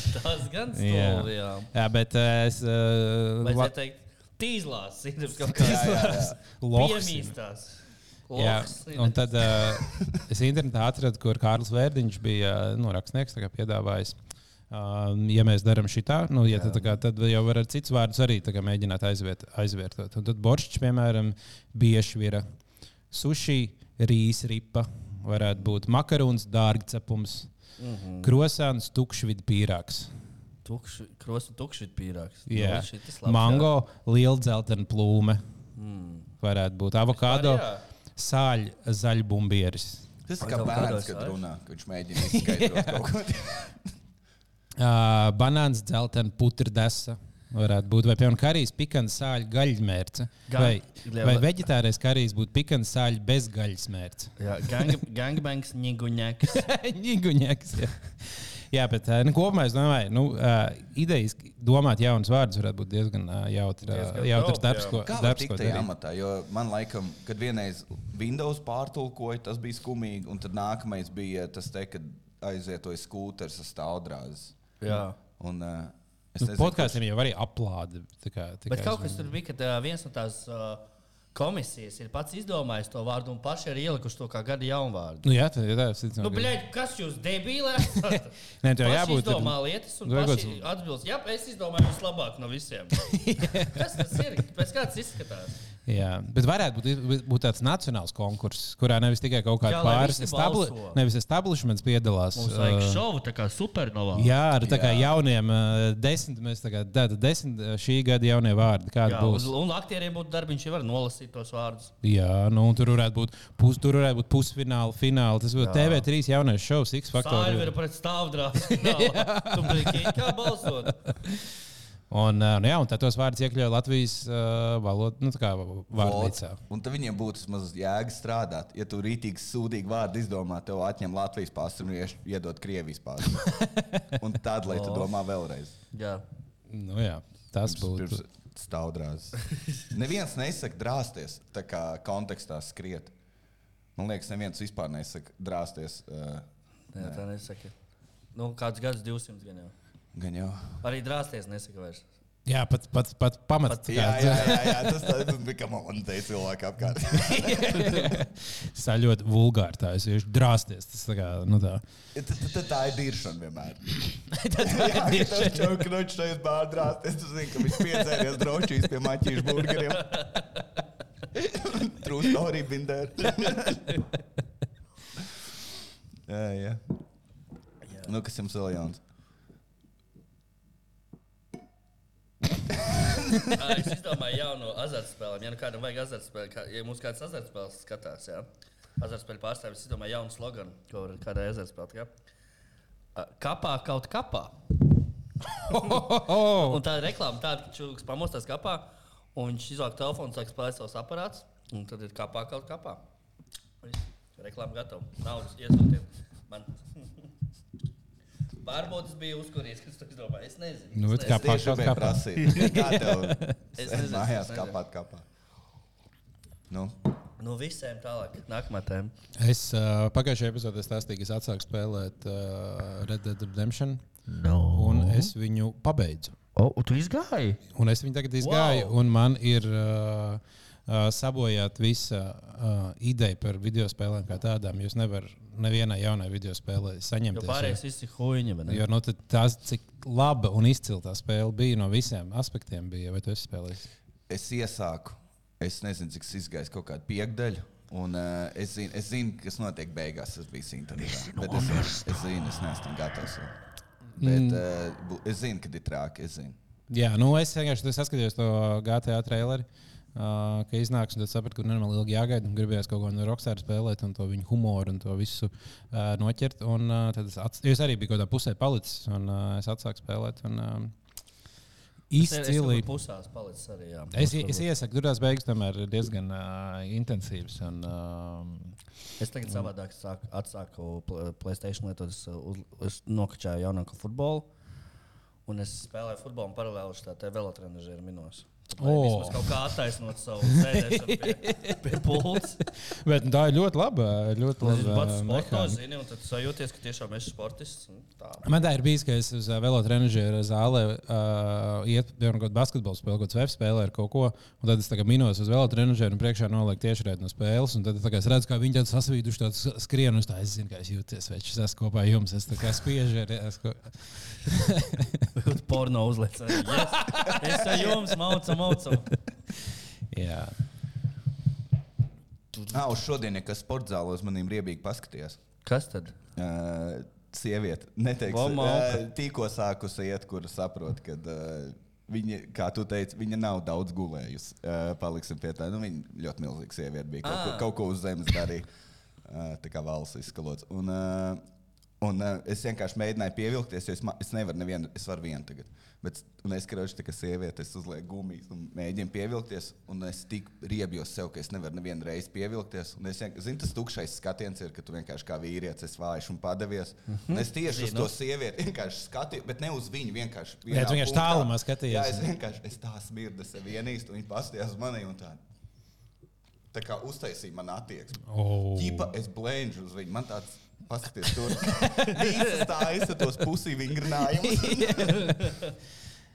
Tas gan jā. stulbi, jā. jā, bet eh, es. Uh, Vai es teiktu, tīzlās ir kaut kāds Loks. piemīstās. Jā, Oh, un tad uh, es internetā atradu, kur Kārlis Vērdiņš bija uh, nu, rakstnieks, tā kā piedāvājis. Uh, ja mēs darām šitā, nu, ja tad, tā kā, tad jau var ar citus vārdus arī tā kā mēģināt aizviet, aizvietot. Un tad boršs, piemēram, bieži ir suši, rīs, ripa, varētu būt makarons, dārgcepums, mm Mhm. -hmm. krosāns, tukšvidu pīrāgs. Tukši, krosi tukši ir pīrāgs. Jā, Nu, šitas labs, Mm. mango, liela dzeltena plūme. Varētu būt avokado, Vispār, sāļ, zaļbumbieris. Tas ir kā Kaut bērns, kādos kad vairs. runā, ka viņš mēģina izskaidrot kaut ko tādu. Uh, banāns, dzeltena putrdesa. Varētu būt, vai piemēram, karijas pikants, sāļu gaļmērce. Gan- Vai, Jā, vai vai- veģetārais karijas būtu pikants, sāļu bez gaļmērce. Jā, gang- gangbangs, niguņēks. Niguņēks. Jā. jā, bet uh, nu, kopumā es domāju, ka nu, uh, idejas domāt jaunas vārdus varētu būt diezgan uh, jautra, Diezgan jautrs dope, darbs, jā. ko, Kā var darbs, ko tikt tajā darīt. amatā? Jo man laikam, kad vienreiz Windows pārtulkoja, tas bija skumīgi, un tad nākamais bija tas te, kad aizietoja skūters ar stāvdrāzi. Jā. Un, uh, es Nu, nezinu, kurš- Podkāstiem jau arī aplādi. tā kā, Bet tikai kaut es- kas tur bija, kad ā, viens no tās ā, komisijas ir pats izdomājis to vārdu un paši ir ielikuši to kā gada jaunvārdu. Nu, jā, tā ir tā līnija. Nu, bļaļ, kas jūs debīli esat? Nē, nu, tev Paši jābūt tur- Izdomā lietas un Vajag paši kaut- atbild. Jā, es izdomāju vislabāk no visiem. kas tas ir? Pēc kāds izskatās? Jā, bet varētu būt, būt tāds nacionāls konkurss, kurā nevis tikai kaut kāda Jā, lai pāris visi establi, balso. nevis establishments piedalās. Mums vajag uh, šovu, tā kā supernovā. Jā, ar tā kā jauniem, uh, desmit, mēs tā kā, tāda desmit uh, šī gada jaunie vārdi, kāda Jā, būs. uz, un aktieriem būtu darbs, ja var nolasīt tos vārdus. Jā, nu un tur varētu būt, pus, tur varētu būt pusfināli, fināli. Tas būtu TV3 jaunais šovs, X Faktori ir faktori. pret stāvdrāsu. Tu biji kā balsot. Un, uh, nu, jā, un tā tos vārdus iekļauj Latvijas uh, valodā, nu tā kā vārdnīcā. Un tad viņiem būtu maz jēga strādāt. Ja tu rītīgi sūdīgi vārdu izdomā, tev atņem Latvijas pasu un ieš- iedod Krievijas pasu. un tad, lai tu domā vēlreiz. Jā. Nu jā, tas būtu. Pirms staudrās. Neviens nesaka drāsties, tā kā kontekstā skriet. Man liekas, neviens vispār nesaka drāsties. Uh, Jā, tā nesaka. Nu, kāds gads 200 gan jau. gan jau. Arī drāsties nesaka vairs. Jā, pat, pat, pat pamats. Pat- tā Jā, kā- jā, jā, jā tas, tas, tas bija kā man teica cilvēki apkārt. Tā ļoti vulgāri tā es vienkārši drāsties. Tas tā kā, nu tā. Tad- tad- tad Tā ir diršana vienmēr. Jā, ja tas čau kručs šeit bārdrās. Es tu zinu, ka viņš piedzēries drošīs pie maķīšu burgeriem. True story, binder. jā, jā. Nu, kas jums vēl jauns? Ā, Es izdomāju jaunu azartspēli. Ja nu kādam vajag azartspēli, kā, ja mums kāds azartspēles skatās, jā. Azartspēļu pārstāvis es izdomāju jaunu sloganu, ko var kādai azartspēlē. Jā. Ā, Kapā kaut kapā. Un tā ir reklāma, tāda, ka čūlis pamostās kapā, un viņš izvelk telefonu, sāk spēlēt savus aparātus, un tad ir kapā kaut kapā. Viss. Reklāma gatava. Naudas iesūtiet man. Pārbaudas bija uzkurīts, kas tas domāja. Es nezinu. Nu, es bet nezinu. Kapā Tieši kaut vien kāpā. prasīt. Kā tev? Es Es nezinu, es mājās nezinu. kāpāt kāpā. Nu, No visiem tālāk, nākamā tēma. Es uh, pagājušajā epizodē stāstīju, ka es atsāku spēlēt uh, Red Dead Redemption, No. un es viņu pabeidzu. O, tu izgāji? Un es viņu tagad izgāju, wow. un man ir uh, uh, sabojāta visa uh, ideja par video spēlēm kā tādām. Jūs nevarat nevienā jaunā video spēlē saņemt. Jo pārējais viss ir huīņa. Jo nu, tad tās, cik laba un izcila tā spēle bija no visiem aspektiem, bija. Vai tu esi spēlējis? es iesāku. Es nezinu, cik es izgaisu kaut kādu piekdaļu. Un uh, es, zinu, es zinu, kas notiek beigās. Tas bija internetā. Bet es, es zinu, es neesmu gatavs. vēl. Bet uh, bu- es zinu, kad ir trāki. Es zinu. Jā, nu es vienkārši es saskatījos to GTA traileri. Uh, ka iznāks, un tad sapratu, ka nenormāli ilgi jāgaida. un Gribējās kaut ko no Rockstar spēlēt, un to viņa humoru un to visu uh, noķert. Un, uh, tad es, ats... es arī biju kaut kādā pusē palicis, un uh, es atsāku spēlēt. Un, um, izcili. Es pusās palicis arī. Jā. Es, es, es iesaku, tur tās beigas tomēr ir diezgan uh, intensīvas. Un, uh, Es tagad savādāk sāku, atsāku pl- Playstation lietot, es, uh, uz- es nokačāju jaunāko futbolu. Un es spēlēju futbolu un paralēli šitā te velotrenažera minos. O! Oh. Kaut kā attaisnot savu sēdēšanu pie, pie pults. bet tā ir ļoti laba. Ļoti Tas ir laba pats mehānika. sports, zini, un tad sajūties, ka tiešām esi sportists. un Tā. Man tā ir bijis, ka es uz velotrenažera zālē uh, ietu, piemēram, kaut kādu basketbolu spēli, kaut kādu veidu spēli ar kaut ko. Un tad es tā kā minos uz velotrenažera un priekšā nolieku tiešraidi no spēles. Un tad tā kā es redzu, kā viņi tādu sasvīduši tādu skrienu. un Es, tā, es zinu, kā es jūtos, vai es esmu kopā ar jums. Es tā kā spiežu. Ar, es ko... Porno uzliek. Yes. Es ar jums maucu, maucu. Jā, Ah, uz šodien, kas sporta zālē uz maniem riebīgi paskatījās. Kas tad? Uh, Sieviete, neteiks, Lama Alka. uh, tikko sākusi iet, kur saprot, ka uh, viņa, kā tu teici, viņa nav daudz gulējusi. Uh, paliksim pie tā, nu, viņa ļoti milzīga sieviete bija. Kaut, ko, kaut ko uz zemes darīja. Uh, tā kā valsts izskalots. Un, uh, un uh, es vienkārši mēģināju pievilkties, jo es, ma- es nevaru nevienu, es varu vienu tagad. Bet s- un es skatos, ka sieviete, es uzlieku gumijas un mēģinu pievilkties. Un es tik riebjos sev, ka es nevaru nevienu reizi pievilkties. Un es vienkārši, zinu, tas tukšais skatiens ir, ka tu vienkārši kā vīrietis esi vājš un padavies. Mhm. Un es tieši uz to sievieti vienkārši skatījos, bet ne uz viņu Jā, vienkārši. tu vienā vienkārši punktā. tālumā skatījies. Jā, es vienkārši es tā smirdu sev vienīstu, un viņi paskatījās uz mani un tā. Tā kā uztaisīja man attieksmi. oh. Ķipa, es blēņģu uz viņu. Man tāds paskatās, tur bija tā aizsmeļos pusī vingrinājumus.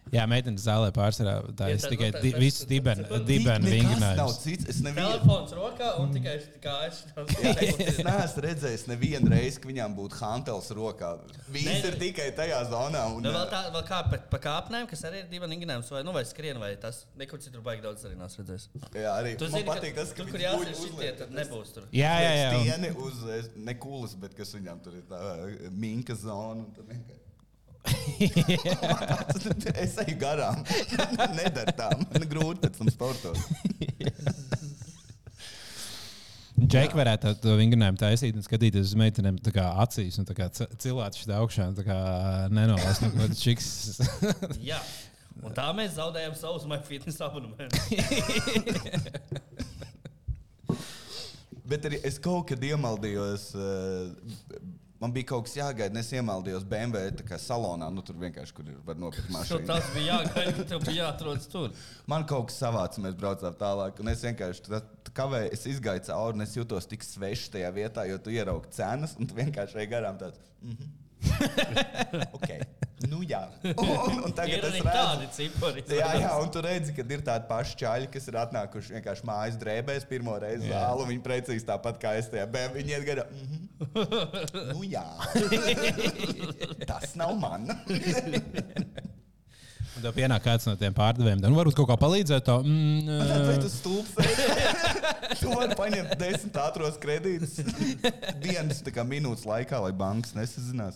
Jā, meitene zālē pārsvarā. Tā Ja es tas- tikai tas- di- nu, tas- visu dibenu dibenu nav vingrinājumu. cits. Es nevienu. Telefons rokā un tikai kājas. Es neesmu redzējis nevienu reizi, ka viņām būtu hantels rokā. Viņas Nē. ir tikai tajā zonā. Un, Nu, vēl tā, vēl kā pa, pa kāpnēm, kas arī ir divi nigrinājums, vai, nu, vai skrien, vai tas nekur citur baigi daudz arī nāc redzēs. eh, jā, arī Tu man zini, patīk tas, ka tur, kur viņi guļ jāsaka, šitie uzliek, tad tad es- nebūs tur. Jā, jā, jā. un- Stieni uz es- ne kulas, bet kas viņam tur ir tā eh, minka zona. un tad vienkārši- es eju garām. Nedara tā. Man grūti pēc tam sportot. Džek varētu tā- to vingrinājumu taisīt un skatīties uz meitenēm tā kā acīs un tā kā ce- cilāt šitā augšā un tā kā nenolēst. Nu, ko Čiks. Jā. Un tā mēs zaudējam savus MyFitness abonementus. Bet arī es kaut kad iemaldījos. eh, Man bija kaut kas jāgaida, un es iemaldījos BMW tā kā salonā. Nu, tur vienkārši kur ir, var nopirkt Šo mašīnu. tas bija jāgaida, ka tev bija jāatrodas tur. Man kaut kas savāca, mēs braucām tālāk. Un es vienkārši tā- tā kavēju, es izgāju cauri, un es jutos tik svešs tajā vietā, jo tu ieraugi cenas, un tu vienkārši ej garām tāds. Mm -hmm. okay. Nu jā, un, un Ir tagad es arī redzu. tādi cipari. Jā, jā, un tu redzi, ka ir tādi paši čaļi, kas ir atnākuši vienkārši mājas drēbēs, pirmo reizi Jā. zāli. un Viņi precīzi tāpat kā es tajā bērnā. Viņi iet garā. Mm -hmm. nu, jā, tas nav man. Un tev pienāk kāds no tiem pārdevējiem. Nu, varbūt kaut kā palīdzēt. Tā, mm, Vai ā, tu stulbs? tu vari paņemt desmit ātros kredītus dienas tā kā minūtes laikā, lai bankas nesazinās.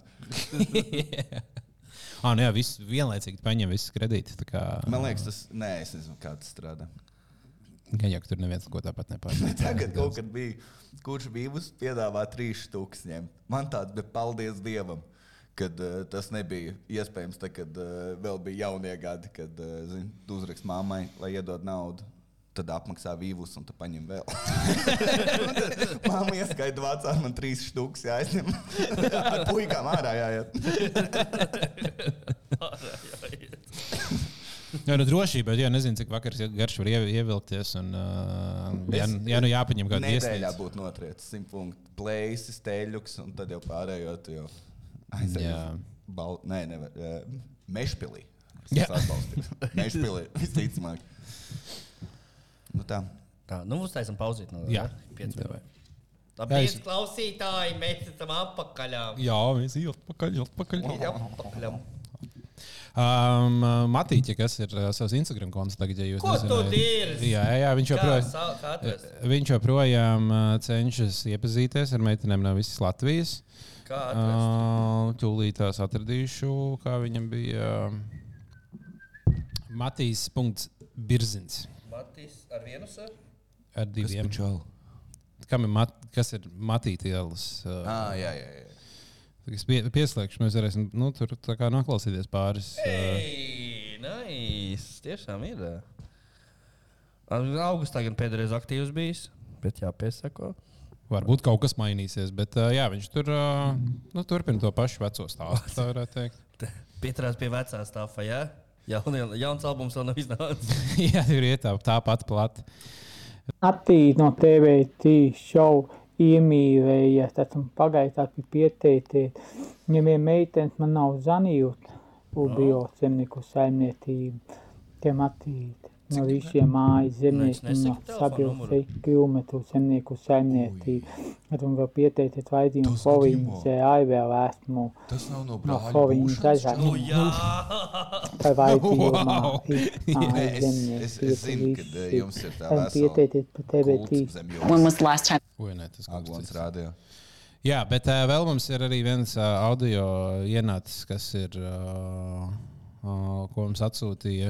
Ā, nu jā, viss vienlaicīgi paņem visus kredītus. tā kā- Man liekas, tas nē, es nezinu, kā tas strādā. Gan jau ka tur neviens ko tāpat nepārspēj. Tagad kaut kad bija, kurš bija uz piedāvā trīs stūks ņemt. Man tāds bija paldies Dievam. Kad uh, tas nebija iespējams, tad, kad uh, vēl bija jaunie gadi, kad uh, zin, tu uzrakst mammai, lai iedod naudu, tad apmaksā vīvus un tu paņem vēl. Māma ieskaita vācā, man trīs stūks jāizņem. Ar puikām ārā jāiet. Jā, nu drošība, bet jā, nezinu, cik vakars garš var iev- ievilkties. Un, uh, jā, nu- jā, nu jāpaņem kāda Nedēļā iestāde. būtu notriecis simt punktu. Plēsis, teļuks un tad jau pārējot. Jau. Jā. Aizējot. Bal... Nē, nevar. eh, Mešpilī. Jā. Jā, Mešpilī. Visticamāk. Nu tā. Tā, nu uztaisim pauzīt. No, Jā, pieci Davai. Tāpēc es- klausītāji, mēs esam apakaļā. Jā, mēs ejam pakaļ, ejam pakaļ. Jā, apakaļā. Um, Matīķis, kas ir uh, savs Instagram konts, tagad, ja jūs Ko tu nezinājāt- dirzi? Jā, jā, viņš Kā, joprojām. eh, sa- kā atrast? Viņš joprojām uh, cenšas iepazīties ar meitenēm no visas Latvijas. Kā atrast? Uh, tūlīt tās atradīšu, kā viņam bija. Uh, Matīs. Birzins Matīs ar vienu sēru. ar diviem. Kam ir mat, kas ir Matītielas? Uh, Ah, jā, jā, jā. es pie, pieslēgšu, mēs varēsim nu, tur tā kā noklausīties pāris. Uh, Ei, nice. Tiešām ir. Augustā gan pēdējais aktīvs bijis, bet jāpiesako. Varbūt kaut kas mainīsies, bet uh, jā, viņš tur uh, nu, turpina to pašu veco stāstu. Tā varētu teikt. Pieturās pie vecā stāfa, jā? Jaunie, jauns albums vēl nav iznācis. jā, tur ir tā, tā pati plata. Attīstīt no TVT šovu iemīlējies, tad man pagaidām bija pieteicies. Viņam ir meitenes, man nav zanījūta ubio Oh. zemnieku saimniecību. Tiem attīstīt no visiem Nu, mājas zemniekiem, nesaki no telefona numuru? sabiedrības kilometru zemnieku saimniecību. Tad man vēl pieteicies vajadzību Tas gadījumā. Foviņas, AIVL esmu Tas nav no no brāļa. Foviņas Nu, būšanas. dažādiem jā, par vajadzībām. Wow! Nē, es, es, es zinu, ka eh, jums ir tā vesela Pieteicies par TVT. kultūra zem When jums. was the last time? Ui, nē, tas kaut kas Aglons cits. rādīja. Jā, bet uh, vēl mums ir arī viens uh, audio ienācis, kas ir, uh, uh, ko mums atsūtīja.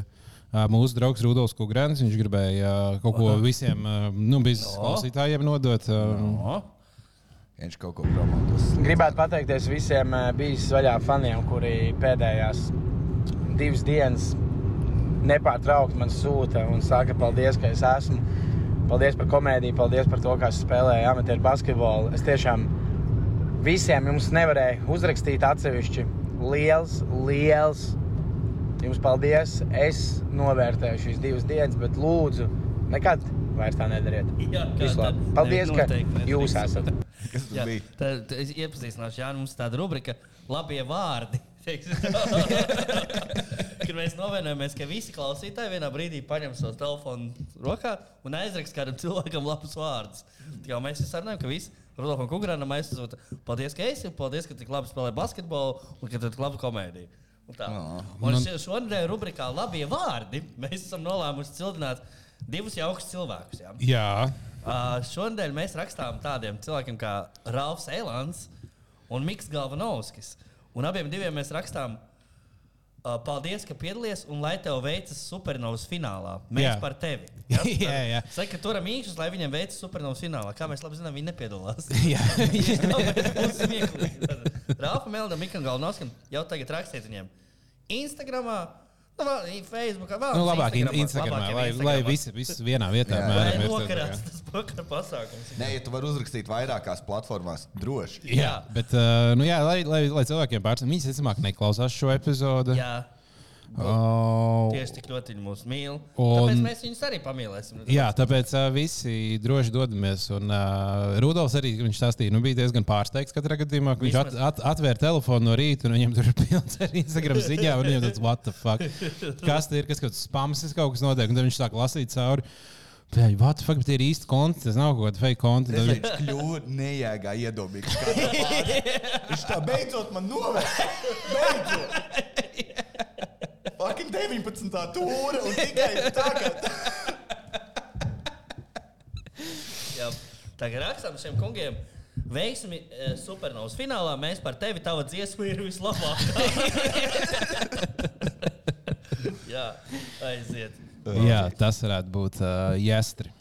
ā, Mūsu draugs Rudolfs Kungrāns, viņš gribēja ā, kaut ko visiem ā, nu, biznesa klausītājiem nodot. nu. ā, Viņš kaut ko promotos. Gribētu pateikties visiem eh, bijis vaļā faniem, kuri pēdējās divas dienas nepārtraukti man sūta un saka, paldies, ka es esmu. Paldies par komēdiju, paldies par to, kā es spēlēju amatieru basketbolu. Es tiešām visiem jums nevarēju uzrakstīt atsevišķi. Liels, liels jums paldies. Es novērtēju šīs divas dienas, bet lūdzu, nekad vairs tā nedariet. jā, kā Visu labi. tā- Paldies, ne, ka noteikti mēs jūs tiksim. esat. Kas tas Jā, bija? tā, tā, es iepazīstināšu, Jā, mums tāda rubrika - labie vārdi. teiksim tā. Kur mēs novērojamies, ka visi klausītāji vienā brīdī paņem savu telefonu rokā un aizraksta kādam cilvēkam labus vārdus. Tā Kā mēs visi runājam, ka visi Rudolfam Kungrānam aizsūta paldies, ka esi, un paldies, ka tik labi spēlē basketbolu un ka tu tik labi komēdiju. Un tā. Ah. Un še- šonadēļ rubrikā labie vārdi mēs esam nolēmuši cildināt divus jaukus cilvēkus. Jā. Jā, Uh, šodien mēs rakstām tādiem cilvēkiem kā Rāfs Eilants un Mikls Galvanovskis. Un abiem diviem mēs rakstām, uh, paldies, ka piedalījies un lai tev veicas supernovas finālā. Mēs Jā. jā. par tevi. Jā, jā. Saka, ka turam īkšķus, lai viņiem veicas supernovas finālā. Kā mēs labi zinām, viņi nepiedalās. jā. Rāfa Melda, Mikls Galvanovskis, jau tagad rakstiet viņiem Instagramā. Nu, vēl, Facebookā vēl. Nu, labāk in- Labāk Instagramā, jau lai, lai visi, visi vienā vietā Jā. mēram, Vai ir nokarās tā kā- tas vakar pasākums? Nē, ja tu vari uzrakstīt vairākās platformās, droši. Jā, bet, uh, nu jā, lai, lai, lai cilvēkiem pārsteigts, viņi visticamāk neklausās šo episodu. Jā, Oh, tieši tik ļoti viņi mūs mīl. Un... Un- Tāpēc mēs viņus arī pamīlēsim. Nu, Jā, tāpēc uh, visi droši dodamies. Un uh, Rudolfs arī viņš stāstīja, nu, bija diezgan pārsteigts katrā gadījumā, ka viņš at, Vismaz- at, atvēra telefonu no rīta un viņam tur ir pilns ar Instagram ziņām. un Viņam tas what the fuck? Kas tas ir? Kas kaut kas spams, kas kaut kas notiek? Un tad viņš sāk lasīt cauri. Pēļ, what the fuck, bet tie ir īsti konti, tas nav kaut kāda fake konta. Es Tad viņš- pēc kļūda nejēgā iedomīgs. kā tā pār- Viņš tā beidzot man novērsa. Beidzot! Fucking 19. tūra un tikai tagad. Jā. Tagad rakstām šiem kungiem. Veiksmi eh, supernovas finālā. Mēs par tevi, tava dziesma ir vislabākā. Jā, aiziet. Jā, tas varētu būt uh, jāstri.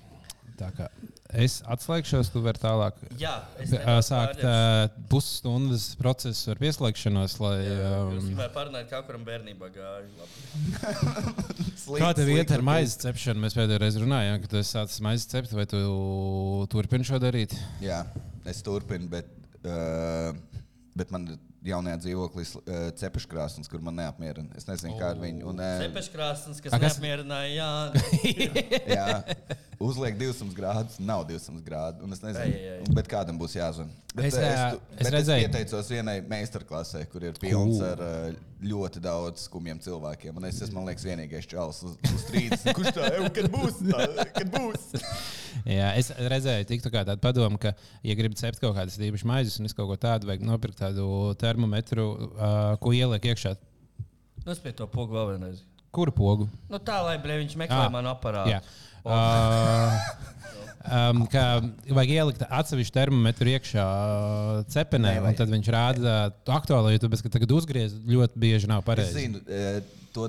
Tā kā Es atslēgšos, tu vari tālāk. Jā, es P- nevaru Sākt pārņemt. uh, pusstundas procesu ar pieslēgšanos, lai Jūs um, gribējāt parunāt, kā kuram bērnībā gāja. labi. Slikti, Kā tev iet ar slikti. maizes cepšanu? Mēs pēdējā reizē runājām, ka tu esi sācis maizes cept, vai tu turpini šo darīt? Jā, es turpinu, bet, uh, bet man ir jaunajā dzīvoklī uh, cepeškrāsns, kur man neapmierina. Es nezinu, kā ar viņu. Un, uh, Cepeškrāsns, A, kas kas- neapmierināja Jāni. jā, uzliek 200 grādus, nav 200 grādu. Un es nezinu, Ai, ai, ai. bet kādam būs jāzvan. Bet, Es, eh, ā, tu- es bet redzēju. es pieteicos vienai meistarklasē, kur ir pilns ar eh, ļoti daudz skumjiem cilvēkiem. Un es esmu, man liekas, vienīgais čels uz, uz 30. Kurš tā, "Ew, kad būs? Tā, kad būs? Jā, es redzēju, tiktu kā tādu padomu, ka, ja gribi cept kaut kādas īpašas maizes, un es kaut ko tādu vajag nopirkt, tādu termometru, uh, ko ieliek iekšā. Nu, es pie to pogu vēl vienreiz. Kuru pogu? Nu, tā, lai blē, viņš meklē Ā, manu aparātu. Jā. Uh, Um, kā vajag ielikt atsevišķu termometru iekšā uh, cepenē, un tad viņš rāda uh, aktuālo, jo tu bez, tagad uzgriezt ļoti bieži nav Es pareizi. zinu, eh, to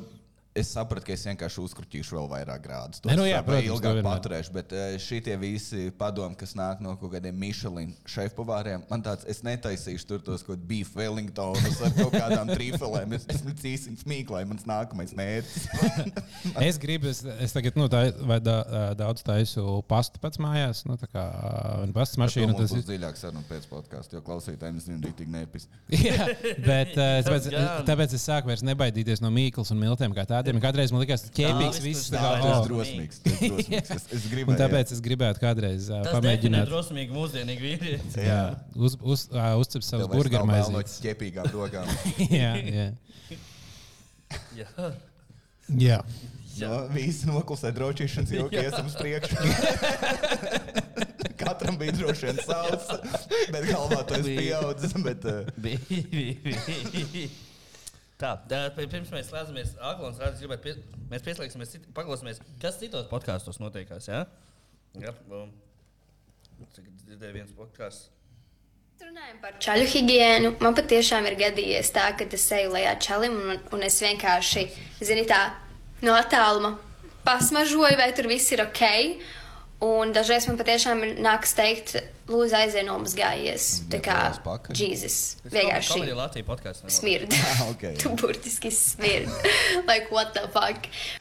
es sapratu, ka es vienkārši uzkrāpīšu vēl vairāk grādus. To Ne, nu es jā, tā protams, ilgāk to vienmēr. paturēšu, bet šie visi padomi, kas nāk no kaut kādiem Michelin šefpavāriem, man tāds, es netaisīšu tur tos kaut kādus beef Wellingtonus ar kaut kādām trīfelēm. Es esmu cīsim smīklai, mans nākamais mērķis. Es gribu, es, es tagad nu, tā, vai da, daudz taisu pastu pats mājās, nu, tā kā uh, un pastas Šī mašīna. mums Tas ir būs dziļāk saruna pēc podkāstu, jo klausītājiem es zinu, tik neepis. Jā, bet uh, es pēc, Gan. tāpēc es sāku vairs nebaidīties no mīklas un miltiem kā tādiem. Kādreiz man likās, ka ķēpīgs viss viss. tur tā nav, kā, Tas oh. ir drosmīgs. tas ir drosmīgs. Es, es Un gribēju. tāpēc es gribētu kādreiz uh, Tas definē pamēģināt. drosmīgi mūsdienīgi vīrietis. jā. Uz, uz, uh, uzcep savus Tev vairs nav burgeru bail no maizītes. ķepīgām rokām. jā, jā. Jā. jā. No, visi noklusē drošības joki, iesim uz priekšu. Katram bija droši vien savs, bet galvā tas Bija. bija pieaudzis. Bet, eh, Bija, bija, bija. Tā, tā, pi- pirms mēs slēdzamies, Aglons, Rādis, gribētu, pie, mēs pieslēgsimies, cit- paklausīsimies, kas citos podkāstos notiekās. Jā, jā um, tagad dzirdēju viens podkāsts. Runājot par čaļu higiēnu, man patiešām ir gadījies tā, ka es eju lejā čalim un, un es vienkārši, zini, tā no attāluma pasmažoju, vai tur viss ir ok. Un dažreiz man patiešām ir nākas teikt, lūdzu, aiziet no mums gājies. Tā kā Nepalaiz pakaļ. Jēzus. Kā Vienkārši bija Latvijas podkāsts? smird. Ah, ok. tu burtiski smird. like, what the fuck?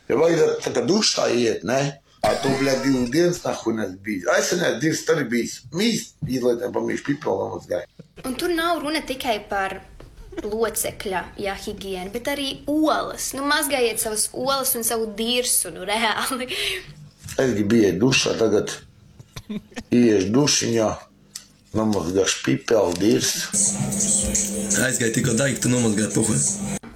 Я говорю, так душа ед, не? А то, блядь, дил динс нахуй нас бить. А если не динс, то бить. Мисс, и ладно, помнишь, пипел на мозгах. Un tur nav runa tikai par locekļa jā, higiēnu, bet arī olas. Nu, mazgājiet savas olas un savu dirsu, nu, reāli. Es gribēju dušā, tagad ies dušiņā, nomazgāšu pipeli, dirs. Aizgāja tikko daigta, nomazgāja puhu.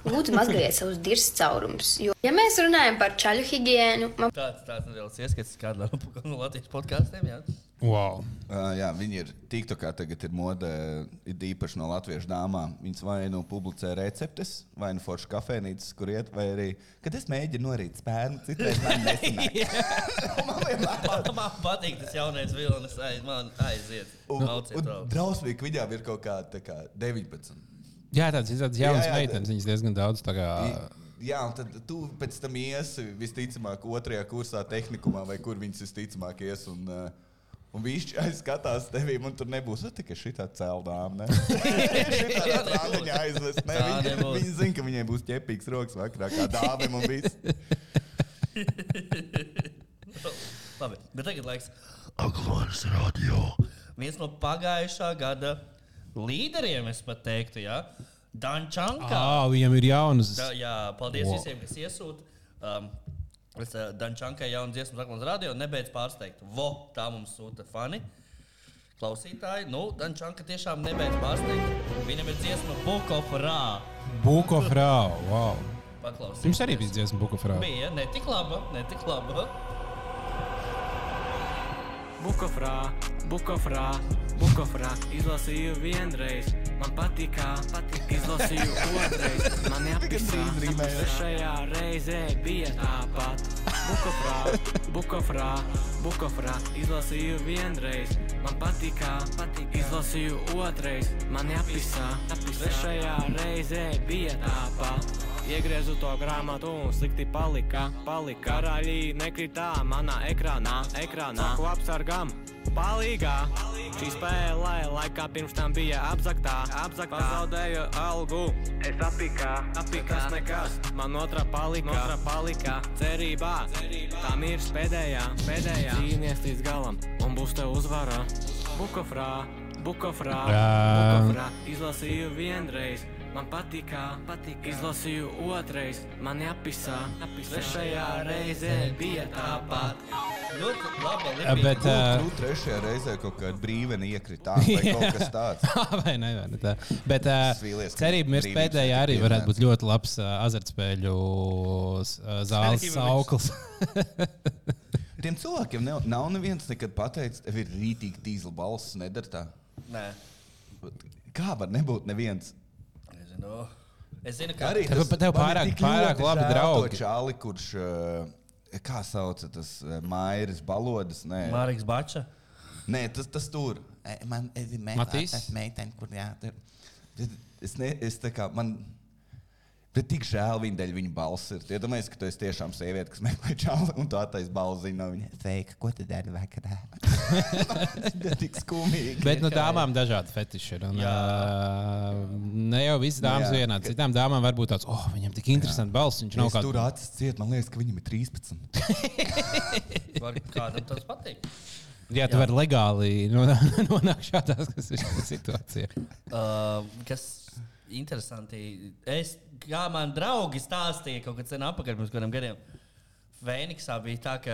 lūdzu mazgājiet savus dirsts caurumus. Jo, ja mēs runājam par čaļu higiēnu, man Tāds, tāds neliels ieskats kādā no Latvijas podkāstiem. jā. Wow. Uh, jā, viņi ir tīkto kā tagad ir modē, ir īpaši no latviešu dāmām. Viņas vai nu publicē receptes, vai nu foršas kafejnīcas, kur iet, vai arī, kad es mēģinu norīt spērnu, citreiz man nesanāk. Man vienmēr Man patīk tas jaunais vilnis, aiz, man aiziet. Un, Mauciet un vēl. drausmīgi viņām ir kaut kāda tā kā 19. Jā, tāds ir tāds jauns Jā, jā, meitenes. Viņas diezgan daudz tā kā. Jā, un tad tu pēc tam iesi visticamāk otrajā kursā, tehnikumā, vai kur viņas visticamāk ies. Un, uh, un viņš aizskatās tevī, un tur nebūs "O, tikai šī tā celdām. Viņa tāda aizvest. Ne, Tā viņa, nebūs. viņa zina, ka viņai būs ķepīgs rokas vakarā, kā dāvim un viss. Labi, bet tagad laiks. Aglons radio. Viens no pagājušā gada līderiem, es pat teiktu, jā, Dančankā. Ah, viņam ir jaunas. Da, jā, paldies Wow. wow. visiem, kas iesūta. Um, es uh, Dančankai jaunu dziesmu saku uz radio, nebeidz pārsteigt. Vo, tā mums sūta fani. Klausītāji, nu, Dančanka tiešām nebeidz pārsteigt. Viņam ir dziesma Bukofrā. Buko frau. Wow. Paklausīsim. Jums arī bija dziesma Buko frau. Bija ne tik laba, ne tik laba. Bukofrā, bukofrā, bukofrā izlasīju vienreiz. Man patīkā, patīk, izlasīju otrreiz. Man jāpiekrīt, ka trešajā reizē bija tāpat. Bukofrā, bukofrā, bukofrā izlasīju vienreiz. Man patīkā, patīk, izlasīju otrreiz. Man jāpiekrīt, ka trešajā reizē bija tāpat. Iegriezu to grāmatu un slikti palika, palika. Karaļī nekritā manā ekrānā, ekrānā. Ko apsargam? Palīgā! Šī spēlē laikā pirms tam bija apzaktā, apzaktā. Zaudēju algu, es apikā, apikā. Tas nekas, man otrā palika, otrā palika. Cerībā, tam ir pēdējā, pēdējā. Cīnies līdz galam un būs tev uzvara. Bukofrā, bukofrā, Jā. bukofrā. Izlasīju vienreiz, man patīkā, patīk. Izlasīju otrais, man jāpisā, trešajā reizē bija tāpat. Ļoti laba. Ā, lipīga. Bet, ā, Nu, trešajā reizē kaut kāda brīvene iekrita vai kaut kas tāds. vai ne? Vai ne tā. Bet uh, Svīlies, ka cerība mirs brīvības pēdējā arī netika varētu pieminēts. būt ļoti labs uh, azartspēļu uh, Cerība zāles mirs. sauklis. Tiem cilvēkiem ne, nav neviens nekad pateicis, tev ir rītīgi dīzla balss, nedara tā. Nē, Kā var nebūt neviens? nezinu. Es zinu, ka Arī Tev- tas- tev man ir pārāk- tik pārāk ļoti labi žēl draugi. to Čāli, kurš, eh, kā sauc tas, eh, Mairis Balodas? Nē, Mārcis Bača. Nē tas, tas tur. Eh, Man ir Matīs? meitene, kur jā. tur. Tad Es, ne, es tā kā, man, bet tik žēl viņa dēļ viņa balss ir. Tu Iedomājies, ka tu esi tiešām sieviete, kas meklē čāli un tu attais balziņu no viņa. Sveika, ko tu dari vakarā? Tas tik skumīgi. Bet no dāmām dažādi fetiši ir. Un, uh, ne jau visas dāmas jā, vienādi. Citām dāmām var būt tāds, oh, viņam tik interesants balss. Viņš nav Es tur kāds. acis ciet, man liekas, ka viņam ir 13. Varbūt kādam tas patīk. Jā, tu vari legāli nonā- nonākt šādās kas ir situācijās. Uh, kas interesanti, es, kā man draugi stāstīja kaut kad sen apakaļ pirms kādiem gadiem, Vēniksā bija tā, ka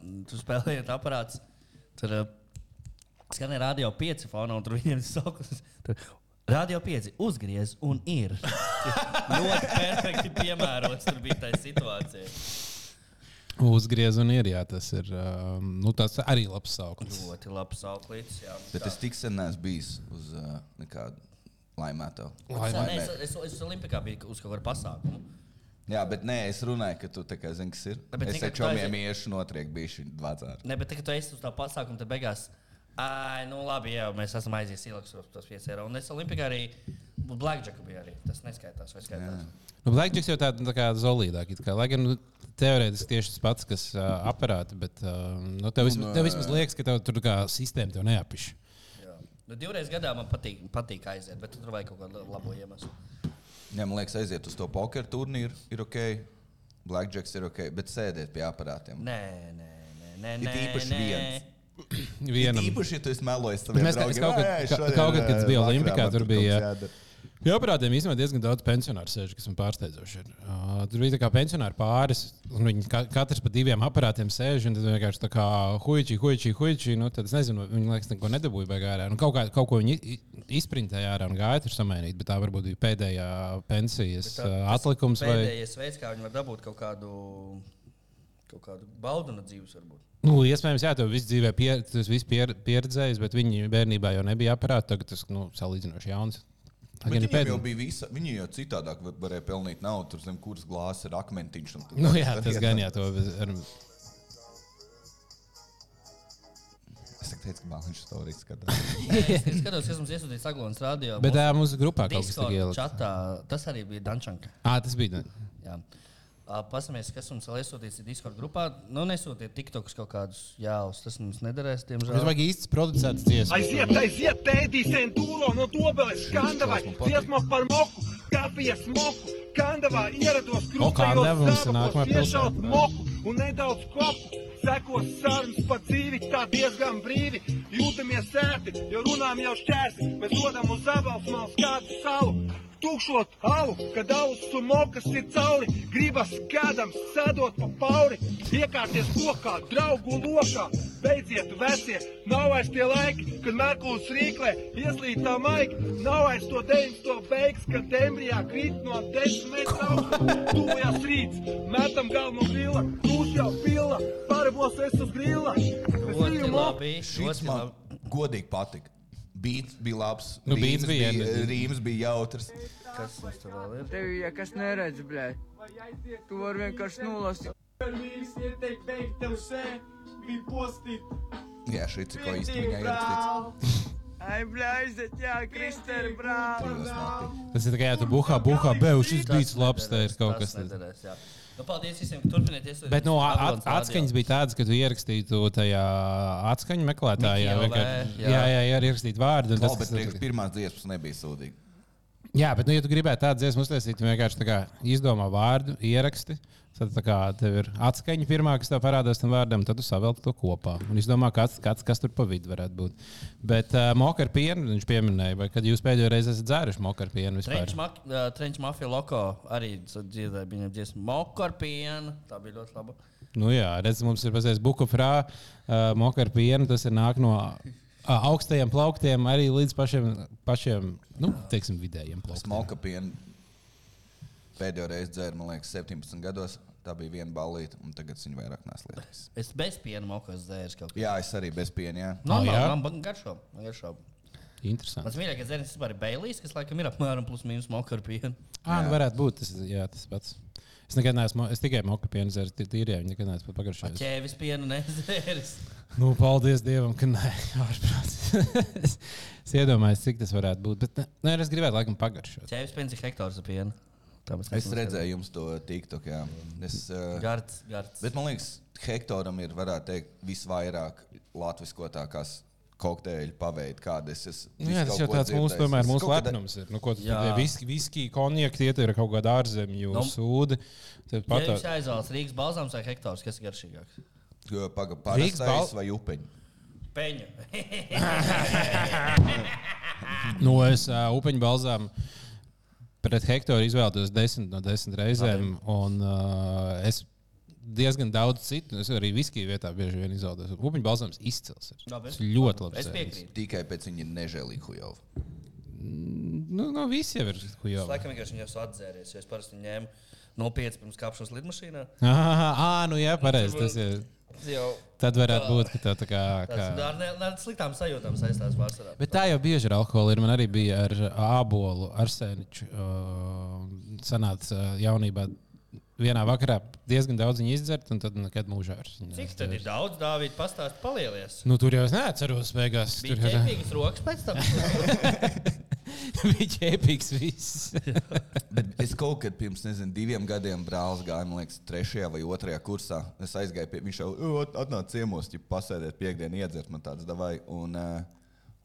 mm, tu spēlējies aparāts. Tur uh, skanēja radio 5 fonā, un tur viņiem sakās. Radio 5 uzgriez un ir. ļoti perfekti piemērots tur bija tā situācija. Uzgriez un ir, jā, tas ir. Um, nu, tas arī labs sauklis. Ļoti labs auklītis. jā. Bet es tik sen neesmu bijis uz uh, nekādu laimētu. Sen Es, es, es Olimpikā biju uz kaut kāda pasākuma. Jā, bet nē, es runāju, ka tu tā kā zini, kas ir. Nē, bet Bet, es tikai ar čomiem tu iešu notriek bijuši vadzāri. Ne, bet tagad, kad es uz tā pasākumu, tad beigās, ai, nu labi, jā, mēs esam aizies ielaksos tos 5 eiro. Un es Olimpikā arī, Blackjacku bija arī, tas neskaitās, vai skaitās. Nu, Blackjacks jau tāds tā kā zolīdāk, it kā. Lai gan nu, teorētiski tieši tas pats, kas uh, aparāti, bet uh, nu, tev, vismaz, tev vismaz liekas, ka tev tur kā sistēma tev neapiš. Jā. Nu, divreiz gadā man patīk, patīk aiziet, bet tur vajag kaut kādu labu iemeslu. Jā, man liekas, aiziet uz to pokeru turnīru, ir ok. Blackjacks ir ok, bet sēdiet pie aparātiem. Nē, nē, nē, nē. Ir nē, īpaši nē. viens. Vienam. Īpaši, ja tu esi melojis Bet saviem Mēs kā- es draugiem. kaut "Ē, kad, ka- šodien, kaut kad, kad es ē, biju vakarā Olimpikā, man tur kaut bija. kas jādara." Jā, parādiem īstenībā diezgan daudz pensionāru sēž, kas man pārsteidzoši ir. Uh, tur bija tā kā pensionāri pāris, un viņi ka katrs pa diviem aparātiem sēž, un tad vienkārši tā kā huiči, huiči, huiči. Nu, tad es nezinu, vai viņi laikam neko nedabūja beigās. Nu, kaut, kā- kaut ko viņi i- izprintēja ārā un gāja tur samainīt, bet tā varbūt bija pēdējā pensijas Tā- tā, tas atlikums. Vai, Pēdējais veids, kā viņi var dabūt kaut kādu, kaut kādu baudu no dzīves, varbūt. nu, iespējams, jā, tev viss dzīvē pier, tas viss pier, pieredzējis, bet viņi bērnībā jau nebija aparāti. Tagad tas nu, salīdzinoši jauns. Tagad ir Viņam pēd- jau bija visa, viņi jau citādāk va- varēja pelnīt naudu, tur zem kuras glāzes ir akmentiņš. un tur- Nu, jā, tas Tad gan jā, iet- to ar, Es tikai teicu, ka Maliņš to arī skatās. Nē, Es es skatos, kas mums iesūtīja Saglons radio. bet tā mūsu grupā kaut kas tāds Discord ielikt. čatā, tas arī bija Dančanka. Ah, tas bija. Jā. Ā, Pasamies, kas mums vēl iesūtīts Discord grupā. Nu, nesūtiet tiktokus kaut kādus jēlus. Tas mums nederēs, Mums diemžēl. vajag īsts producents dziesmas. Aiziet, aiziet, tēdī, sentūro no dobeles, skandavai, dziesma par moku, kafijas moku, skandavai, ierados Kandava mums ir nākamā iešaut pilsēta. moku un nedaudz kopu, sekos sarunas par dzīvi, tā diezgan brīvi, jūtamies sēti, jo runām jau šķērsi, mēs dodam uz abalsmals kādu salu. Tukšot alu, kad ausu mokas ir cauri, gribas kādam sadot pa pauri, iekārties kokā, draugu lokā, beidziet vecie, nav vairs tie laiki, kad Merkūns rīklē, ieslītā maika, nav vairs to 90. beigas, kad dembrijā krīt no 10 metra augstuma, tuvojas rīts, metam galvu no grila, būs jau pila, parabos es uz grila, es Ļoti biju mokas. labi. Šis ļoti man labi. godīgi patika. Beats bija labs, Nu, rīms beats bija, jā, bija, bet- rīms bija jautrs. Kas mums te vēl ir? Tev jau kas neredz, blē. Tu vari vienkārši nolasīt. Jā, šī cik īsti viņai ir. Ai, blē, aiziet, jā, Kristēna, brāl. Tas ir tikai jā, tu buhā, buhā, beju, šis Tas bija labs, tā ir nederēs, kaut tas kas tāds. nederēs, jā. Nu, paldies visiem, ka turpiniet iesūtīt. Bet nu, mums a- Saglons at, atskaņas bija tādas, ka tu ierakstītu tajā atskaņu meklētājā. Miki LV, vienkārši- jā. Jā, jā, jā ierakstīt vārdu. un Tas Tas, bija tas, priekš tas, pirmās dziesmas, nebija sūdīgi. jā, bet, nu, ja tu gribētu tādu dziesmu uztaisīt, tad vienkārši tā kā izdomā vārdu, ieraksti. Tad tā kā tev ir atskaņa pirmā, kas tev parādās tam vārdam, tad tu savelc to kopā. Un es domāju, kāds, kāds, kas tur pa vidu varētu būt. Bet uh, moka ar pienu viņš pieminēja, vai kad jūs pēdējo reizi esat dzēruši moka ar pienu vispār? Trenčs mak- ā, Trenčs mafija loko arī sa- dziedāja viņa dziesmu Mokarpienu. Tā bija ļoti laba. Nu, jā, redziet, mums ir paziņas bukufrā, uh, moka ar pienu. Tas ir nāk no uh, augstajiem plauktiem arī līdz pašiem, pašiem nu, teiksim, vidējiem plauktiem. Smoka piena pēdējo reizi dzēru, man liekas, 17 gados. Tā bija viena balīta, un tagad viņa vairāk neslēdzas. Es bez piena mokas dzēru kaut ko. Jā, es arī bez piena. jā. No, no, Oh, jā? man man garšo. Man garšo. Mans Interesanti. mīļākais dzēriens vispār ir Bēlīs, kas laikam ir apmēram plus mīnus mokarpienu. Ah, nu, varētu būt tas, jā, tas pats. Es nekad neesmu, es tikai moku pienu zēru tī- tīrē, viņa nekad neesmu pat pagaršojis. Ķēvis pienu nezēris. Nu, paldies Dievam, ka nē, ārprāts. es iedomājos, cik tas varētu būt, bet ne, nē, es gribētu laikam pagaršot. Ķēvis piens ir hektārs ar pienu. Tā mēs Es neesam redzēju, jums to TikTok. jā. Es, skatījuši. uh, Gards, gards. bet man liekas, Hektoram ir varētu teikt, visvairāk latviskotākās kokteļu paveidu, kādas es Nu, jā, visu tas kaut jau ko tāds mūsu, dzirdējis. tomēr, Es mūsu kaut kad- lepnums ir. Nu, ko tu Jā. tur viski, viski konjekti ietver kaut kādu ārzemju Nu. sūdu. Tad Ja pat jums aizvēlas Rīgas balzāms vai hektārs, kas ir garšīgāks? Jo, Paga, Rīgas bal- parastais vai upeņi? Peņu. No es uh, upeņu balzām pret hektāru izvēlos desmit no desmit reizēm. Un, uh, es diezgan daudz citu, es arī viskiju vietā bieži vien izvēlos. Upeņu balzāms izcils. ir. Labi. Tas ļoti labi. es piekrītu. Tikai pēc viņa ir nežēlīgi hujov. Nu, no visiem ir Es huijā. laikam vienkārši jau esmu atzēries, jo es parasti ņēmu no 5 pirms kāpšanas lidmašīnā. Ah, nu jā, pareizi. Tas ir. Tas jau Tad varētu būt, ka tā, tā kā. kā... tāds ar ne- ar sliktām sajūtām saistās pārsvarā. Bet tā jau bieži ir alkohola. Ir. Man arī bija ar ābolu, ar sēniņu. Uh, sanāca uh, jaunībā vienā vakarā diezgan daudz viņa izdzert, un tad nekad mūžā ar viņu. Cik tad ir daudz, Dārvid, pastāst, palielies? Nu, tur jau es neatceros, beigās. Bija Tur jau ķēpīgas rokas pēc tam. bija ķēpīgs viss. Bet es kaut kad pirms nezinu, diviem gadiem brālis gāja, man liekas, trešajā vai otrajā kursā. Es aizgāju pie viņš jau, "O, at- atnāc ciemos, ja pasēdēt piekdienu, iedzert man tādas davai. Un, eh,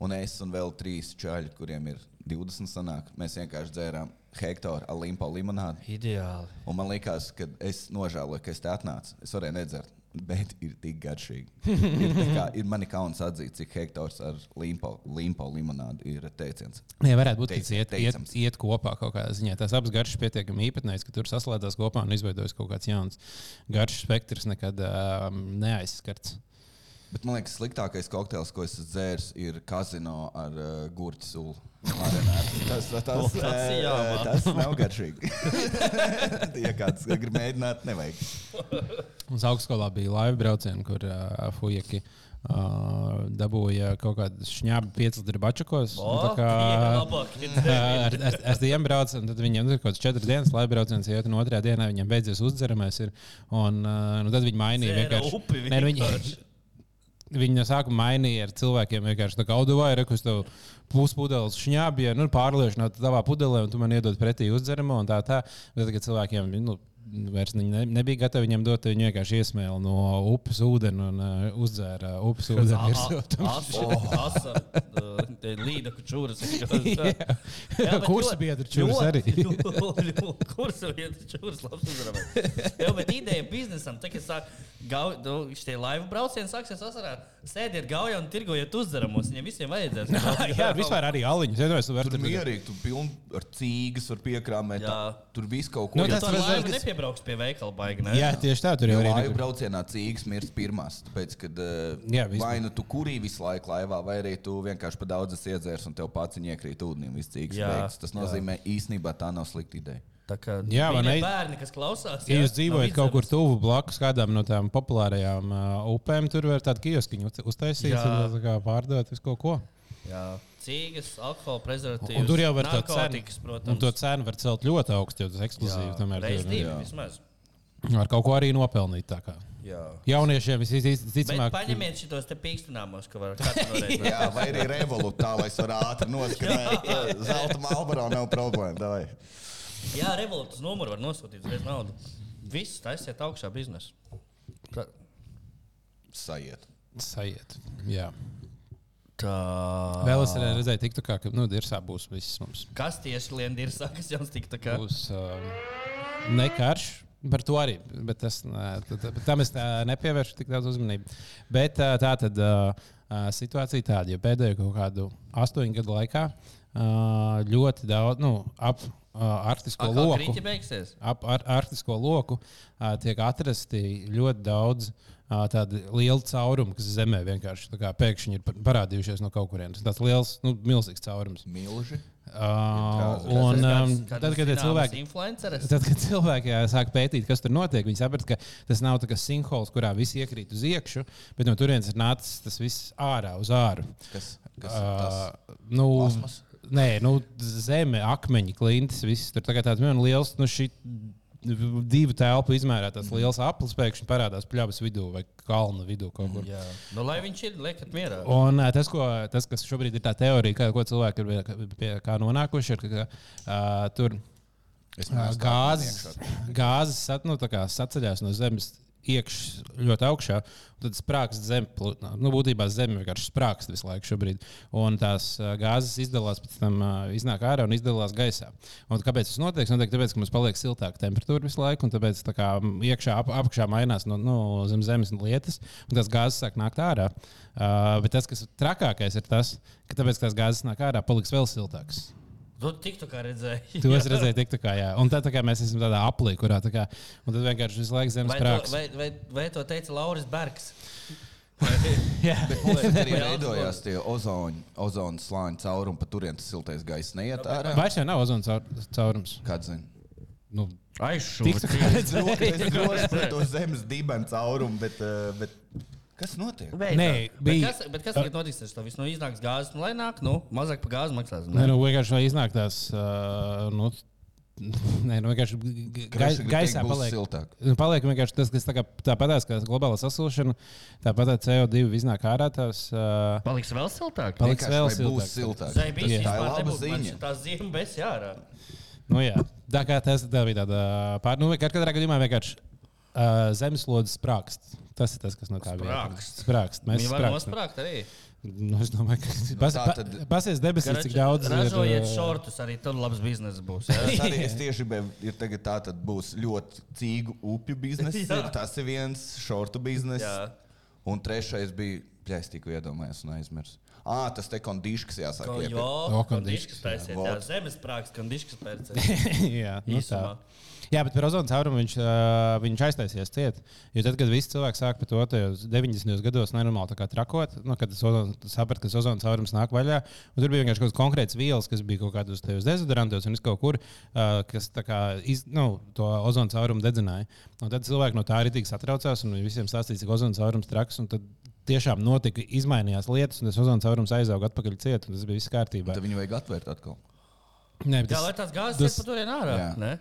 un es un vēl trīs čaļi, kuriem ir 20 sanāk, mēs vienkārši dzērām hektāru alimpa limonādu. Ideāli. Un man liekas, ka es nožēloju, ka es te atnācu. Es varēju nedzert. Bet ir tik garšīgi. Ir, tā kā, ir mani kauns atzīt, cik hektārs ar limpo, limpo limonādu ir teiciens. Nē, varētu būt, ka Teic- tas iet, iet, teicams. iet kopā kaut kādā ziņā. Tās abas garšas pietiekami īpatnējas, ka tur saslēdzās kopā un izveidojas kaut kāds jauns garšas spektrs, nekad um, neaizskarts. Bet man liekas, sliktākais kokteils, ko esmu dzēris, ir kazino ar uh, gurķu sulu. Marinētu. Tas, tas, tas, tas eh, jāmā. tas nav garšīgi. ja kāds grib mēģināt, nevajag. Mums augstskolā bija laiva brauciena, kur uh, fujaki uh, dabūja kaut kādu šņābu piecus dribačakos. O, Uh, ar, ar, ar tiem braucam, tad viņiem tur kaut kāds četras dienas laiva brauciens, ja un otrajā dienā viņiem beidzies uzdzeramais. Ir, un uh, nu, tad viņi mainīja Dzēra vienkārši. upi Nē, nu, vienkārši. Viņi no sākuma mainīja ar cilvēkiem, vienkārši tā kā audovāja, rekus tev puspudeles šņābi, ja nu, pārliešu no tavā pudelē, un tu man iedod pretī uzdzeramo un tā tā. Bet tagad cilvēkiem, nu, vairs viņi ne, nebija gatavi viņiem dot, viņi vienkārši iesmēla no upes ūdeni un uh, uzdzēra upes ūdeni. virsū. Līdzekas čūras. Jā, kursa biedra čūras arī. Kursa biedra čūras labs uzvarētājs. Jā, bet ideja biznesam, tā kā sāk, gau- nu, šitie laivu braucieni sāksies vasarā, sēdiet gaujā un tirgojiet uzdaramos, viņiem visiem vajadzēs. Jā, vispār arī aliņus. Es domāju, ka Tur tas ir mierīgi, tu pilni ar cīgas, var piekrāmēt. Jā. tā- Tur viss kaut ko Nu, Nu, tas tas var laivu zināt, kas- nepiebrauks pie veikala baigi, ne? Jā, tieši tā, tur jau Ja arī laivu ir. braucienā cīņas mirst pirmās. Tāpēc, kad Jā, jā, vispār. vai nu tu kurī visu laiku laivā, vai arī tu vienkārši pa daudzas iedzērs un tev pats iekrīt ūdenī. Viss cīņas Jā, beigas. Tas nozīmē īstenībā tā nav slikta ideja. Tā kā Jā, vai mīļie ne? bērni, kas klausās. Ja jā, jūs dzīvojat nav kaut kur izdevums. tuvu blakus kādām no tām populārajām uh, upēm, tur var tādu kioskiņu uz- uztaisīt Jā. un tā kā pārdot visu kaut ko. Jā, cīgas, alkohola, prezervatīvas. Un tur jau var tādu narkotikas, cenu. protams. Un to cenu var celt ļoti augstu, jo tas ekskluzīvi tomēr Reiz tur ir. divi vismaz. Var kaut ko arī nopelnīt. tā kā. Jā. Jauniešiem Bet visticamāk, paņemiet šitos te pīkstināmos, ka var katru no reizes. Jā, vai arī revolūcijā, lai es varētu ātri noskaidrot. Zelta malbarā nav problēma. davai. Jā, revolūcijas numuru var nosūtīt bez naudas. Viss taisiet augšā biznesu. Tā, Sajiet. sajiet. Jā. tā. Ah. Vēl es arī redzēju, tiktu, kā, ka nu, dirsā būs viss mums. Kas tieši liendi ir sakas jums tik tā kā? Būs uh, nekarš. Par to arī, bet tas, nē, t- t- bet tam es tā nepievēršu tik daudz uzmanību. Bet ā, tā tad ā, ā, situācija tāda, ja pēdējo kaut kādu astoņu gadu laikā ā, ļoti daudz nu, ap ā, arktisko Atkal loku. krīķi beigsies. Ap ar, arktisko loku ā, tiek atrasti ļoti daudz uh, ā, tādu lielu caurumu, kas zemē vienkārši tā kā pēkšņi ir par- parādījušies no kaut kurienes. Tas liels, nu, milzīgs caurums. Milži. Uh, Kāds- un um, Kāds- tad, kad tie zināmas cilvēki. Influenceres. Tad, kad cilvēki ā, sāk pētīt, kas tur notiek, viņi saprot, ka tas nav tāds sinhrols, kurā viss iekrīt uz iekšā, bet no turienes ir nācis tas viss ārā, uz āru. Kas, kas ir tas? Ā, nu, Plasmas? nē, nu, zeme, akmeņi, klintis, viss tur tagad tāds viens liels. Nu, šī, Divu telpu izmērā tas Mhm. liels aplis pēkšņi parādās pļavas vidū vai kalna vidū kaut kur. Jā. Nu, lai viņš ir, liekat mierā. Un ā, tas, ko, tas, kas šobrīd ir tā teorija, kā, ko cilvēki ir pie, pie kā nonākuši, ir, ka uh, tur Es Ā, neesmu gāzes, gāzes sat, nu, tā kā saceļās no zemes. Iekšā ļoti augšā, un tad sprākst zem. pl- Nu, būtībā zeme vienkārši sprākst visu laiku šobrīd. Un tās ā, gāzes izdalās, pēc tam ā, iznāk ārā un izdalās gaisā. Un kāpēc tas notiek? Tas notiek tāpēc, ka mums paliek siltāka temperatūra visu laiku, un tāpēc tā kā, m, iekšā ap, apakšā mainās no, no zem zemes lietas, un tās gāzes sāk nākt ārā. Uh, bet tas, kas ir trakākais, ir tas, ka tāpēc, ka tās gāzes nāk ārā, paliks vēl siltākas. Tu tik tā kā redzēji. To es redzēju, tik tā kā, jā. Un tā, tā kā mēs esam tādā aplī, kurā tā kā, un tad vienkārši visu laiku zemes Vai to, prāks. vai, vai, vai to teica Lauris Bergs? Jā, Tur arī Jā, veidojās tie ozoni, ozonu slāņi caurumi, pa turien tas siltais gaiss neiet ārā. vairs jau nav ozona caur, caurums. Kāds zina? Nu, Aizsūtīt. Es domāju, ka to zemes dibens caurumu, bet, eh, bet kas Nē, notiek? bija. bija- Bet kas, bet kas tagad notiks ar to visu? Nu, iznāks gāzes, nu, lai nāk, nu, mazāk par gāzi maksās. nē, nu, vienkārši vai iznāk tās, uh, nu, nē, nu, vienkārši g- g- gai- Kraši, ka gaisā tik būs paliek. siltāk. Nu, Paliek vienkārši tas, kas tāpat tā patās, kā globālā sasilšana, tāpat CO2 iznāk ārā. Tās, uh, Paliks vēl siltāk. Paliks. Vienkārši, vēl vai būs siltāk. siltāk. Zai bija Tā ir laba ziņa. ziņa. Tā zīme bez jārā. nu, jā, tā kā tas tā bija tāda pār, nu, vienkār- katrā gadījumā vienkārši uh, zemeslodes sprākst. Tas ir tas, kas no tā bija. Sprākst. Sprākst. Mēs Viņi var sprākstam. nosprākt arī. Nu, es domāju, ka tas tā ir. tad- Pasies debesīs, cik Karači, daudz ir, Ražojiet uh, šortus, arī tur labs bizness būs. Es jā. arī es tieši biju, tagad tā tad būs ļoti cīgu upju biznesa. Jā. ir, Tas ir viens, šortu biznesa. Jā. Un trešais bija, ja es tikko iedomājos un aizmirsu. ah, tas te kondīškas jāsāk. Ko, jo, iepirkt." O, kondiškas kondiškas, pērciet, jā, vot. zemes prāks, kondiškas pērciet. jā, nu tā. Īsumā. Jā, bet par ozonu caurumu viņš, ā, viņš aiztaisies ciet. Jo tad, kad visi cilvēki sāk par to tajos 90. gados nenormāli tā kā trakot, nu, kad es sapratu, ka ozonu caurums nāk vaļā, un tur bija vienkārši kaut kāds konkrēts vielas, kas bija kaut kādos tajos dezodorantos un es kaut kur, ā, kas tā kā iz, nu, to ozonu caurumu dedzināja. Un tad cilvēki no tā arī tik satraucās, un visiem stāstīja, ka ozonu caurums traks. un tad Tiešām notika, izmainījās lietas, un tas ozona caurums aizauga atpakaļ ciet, un tas bija viss kārtībā. Tad viņu vajag atvērt atkal. Nē, bet Jā, tas- lai tās gāzes tas- iet pa turien ārā. Jā. ne?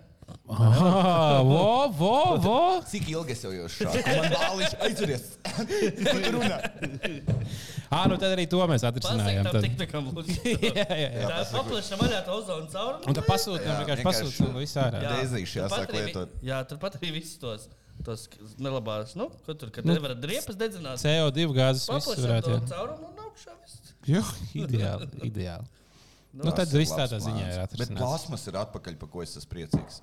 Ah, vo, vo, vo. Cik ilgi es jau jau šādu? Man bāliņš aizveries. Tur runā. Ah, nu tad arī to mēs atrisinājām. Pasaka tam Tad. tiktakam lūdzu. Jā, jā, jā. Tā paplašina vaļā to ozonu caurumu. Un tad pasūtām, Jā, vienkārši vienkārši- pasūtām visā ārā. Jā. Deizīši jāsāk turpat arī vi- lietot. Jā, turpat arī visus tos, tos nelabās, nu, ko tur, kad nevar driepas dedzināt. CO2 gāzes viss Paplašina varētu. to jā. caurumu un augšā. viss. Jo, ideāli, ideāli. Nu, tad viss tādā ziņā ir Bet atrasts. plasmas ir atpakaļ, pa ko es esmu priecīgs.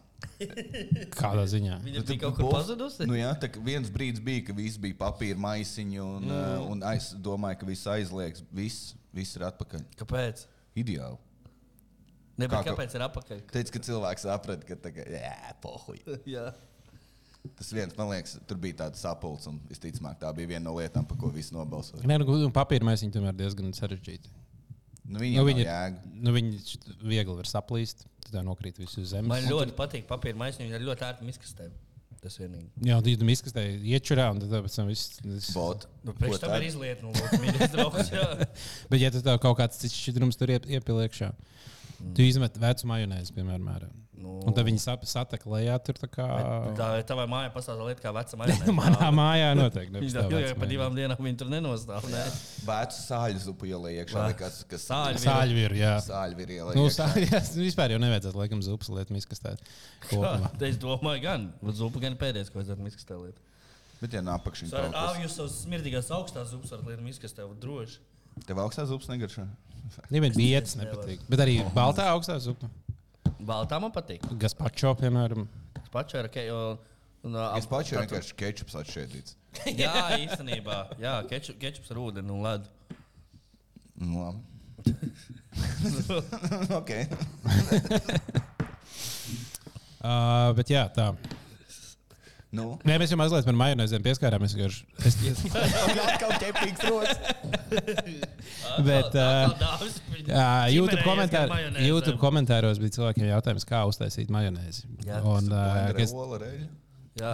Kādā ziņā? Viņa bija Nu, tad kaut kur bo- pazudusi. Nu, jā, tā kā viens brīdis bija, ka viss bija papīra maisiņi, un, mm. un es domāju, ka viss aizliegs. Viss, viss ir atpakaļ. Kāpēc? Ideāli. Ne, bet Kā tu- kāpēc ir apakaļ? Teic, ka cilvēks saprata, ka tā kā, jā, pohuj. Jā. Tas viens, man liekas, tur bija tāds sapulcs, un visticamāk, tā bija viena no lietām, par ko viss nobalsoja. Nē, nu, un papīra mēs viņu tomēr diezgan sarežģīti. Nu, viņi Nu, jau viņi, ir jēga. nu, viņi št- viegli var saplīst, tad tā nokrīt visu uz zemes. Man ļoti patīk papīra maisiņi, viņi ir ļoti ērti miskastēm. Tas vienīgi. Jā, tad viņi izkastē iečurā, un tad pēc tam viss. viss- Bot. Nu, Ko Priekš tam tad? ir izlietni, nu, lūk, mīļais draugs. jā. Bet, ja tu tev kaut kāds cits šķidrums tur iep- iepili iekšā, tu izmet vecu majonēzi, piemēram, ārā. un tad viņi sap- satek lejā tur tā kā. Tā ir tavā mājā pastāvā lieta, kā vecam aizmēram. Oh. Manā mājā noteikti Viņš nepastāv jau vecu par majonēzi. divām dienām viņa tur nenostāv. Ne? Vēcu sāļu zupu ielēja iekšā, vai kas, kas Sāļu. Sāļu ir, jā. Sāļu ir ielēja. Nu, Nu, sāļu, jā, vispār jau nevajadzētu, laikam, zupas lietu miskastēt. kopumā. Tā, Es domāju, gan zupa, gan pēdējais, ko vajadzētu miskastē lietu. Bet, ja nāpakšņi kaut Āā, kas, jūs savus smirdīgās augstās zupas varat lietu miskastē, droši. tev augstā zupas negaršo? Viņam bija vietas, nepatīk. Bet arī baltā augstā zupa. Baltā man patīk. Gaspačo, piemēram. Tas pats ir ok. un- un, ā, Es pats jau tā tu- vienkārši kečups atšķēdīts. Jā, īstenībā. Jā, keču- kečups ar ūdeni un ledu. Nu, labi. okay. Uh, bet jā, tā. Nu, Nē, mēs jau mazliet par majonēzēm pieskārāmies. vienkārši. Es- atkal ķepīgs rots. Bet, uh, Jā, YouTube, komentār, YouTube komentāri. komentāros bija cilvēkiem jautājums, kā uztaisīt majonēzi. Jā, un, uh, kas, Ola reļa. Jā,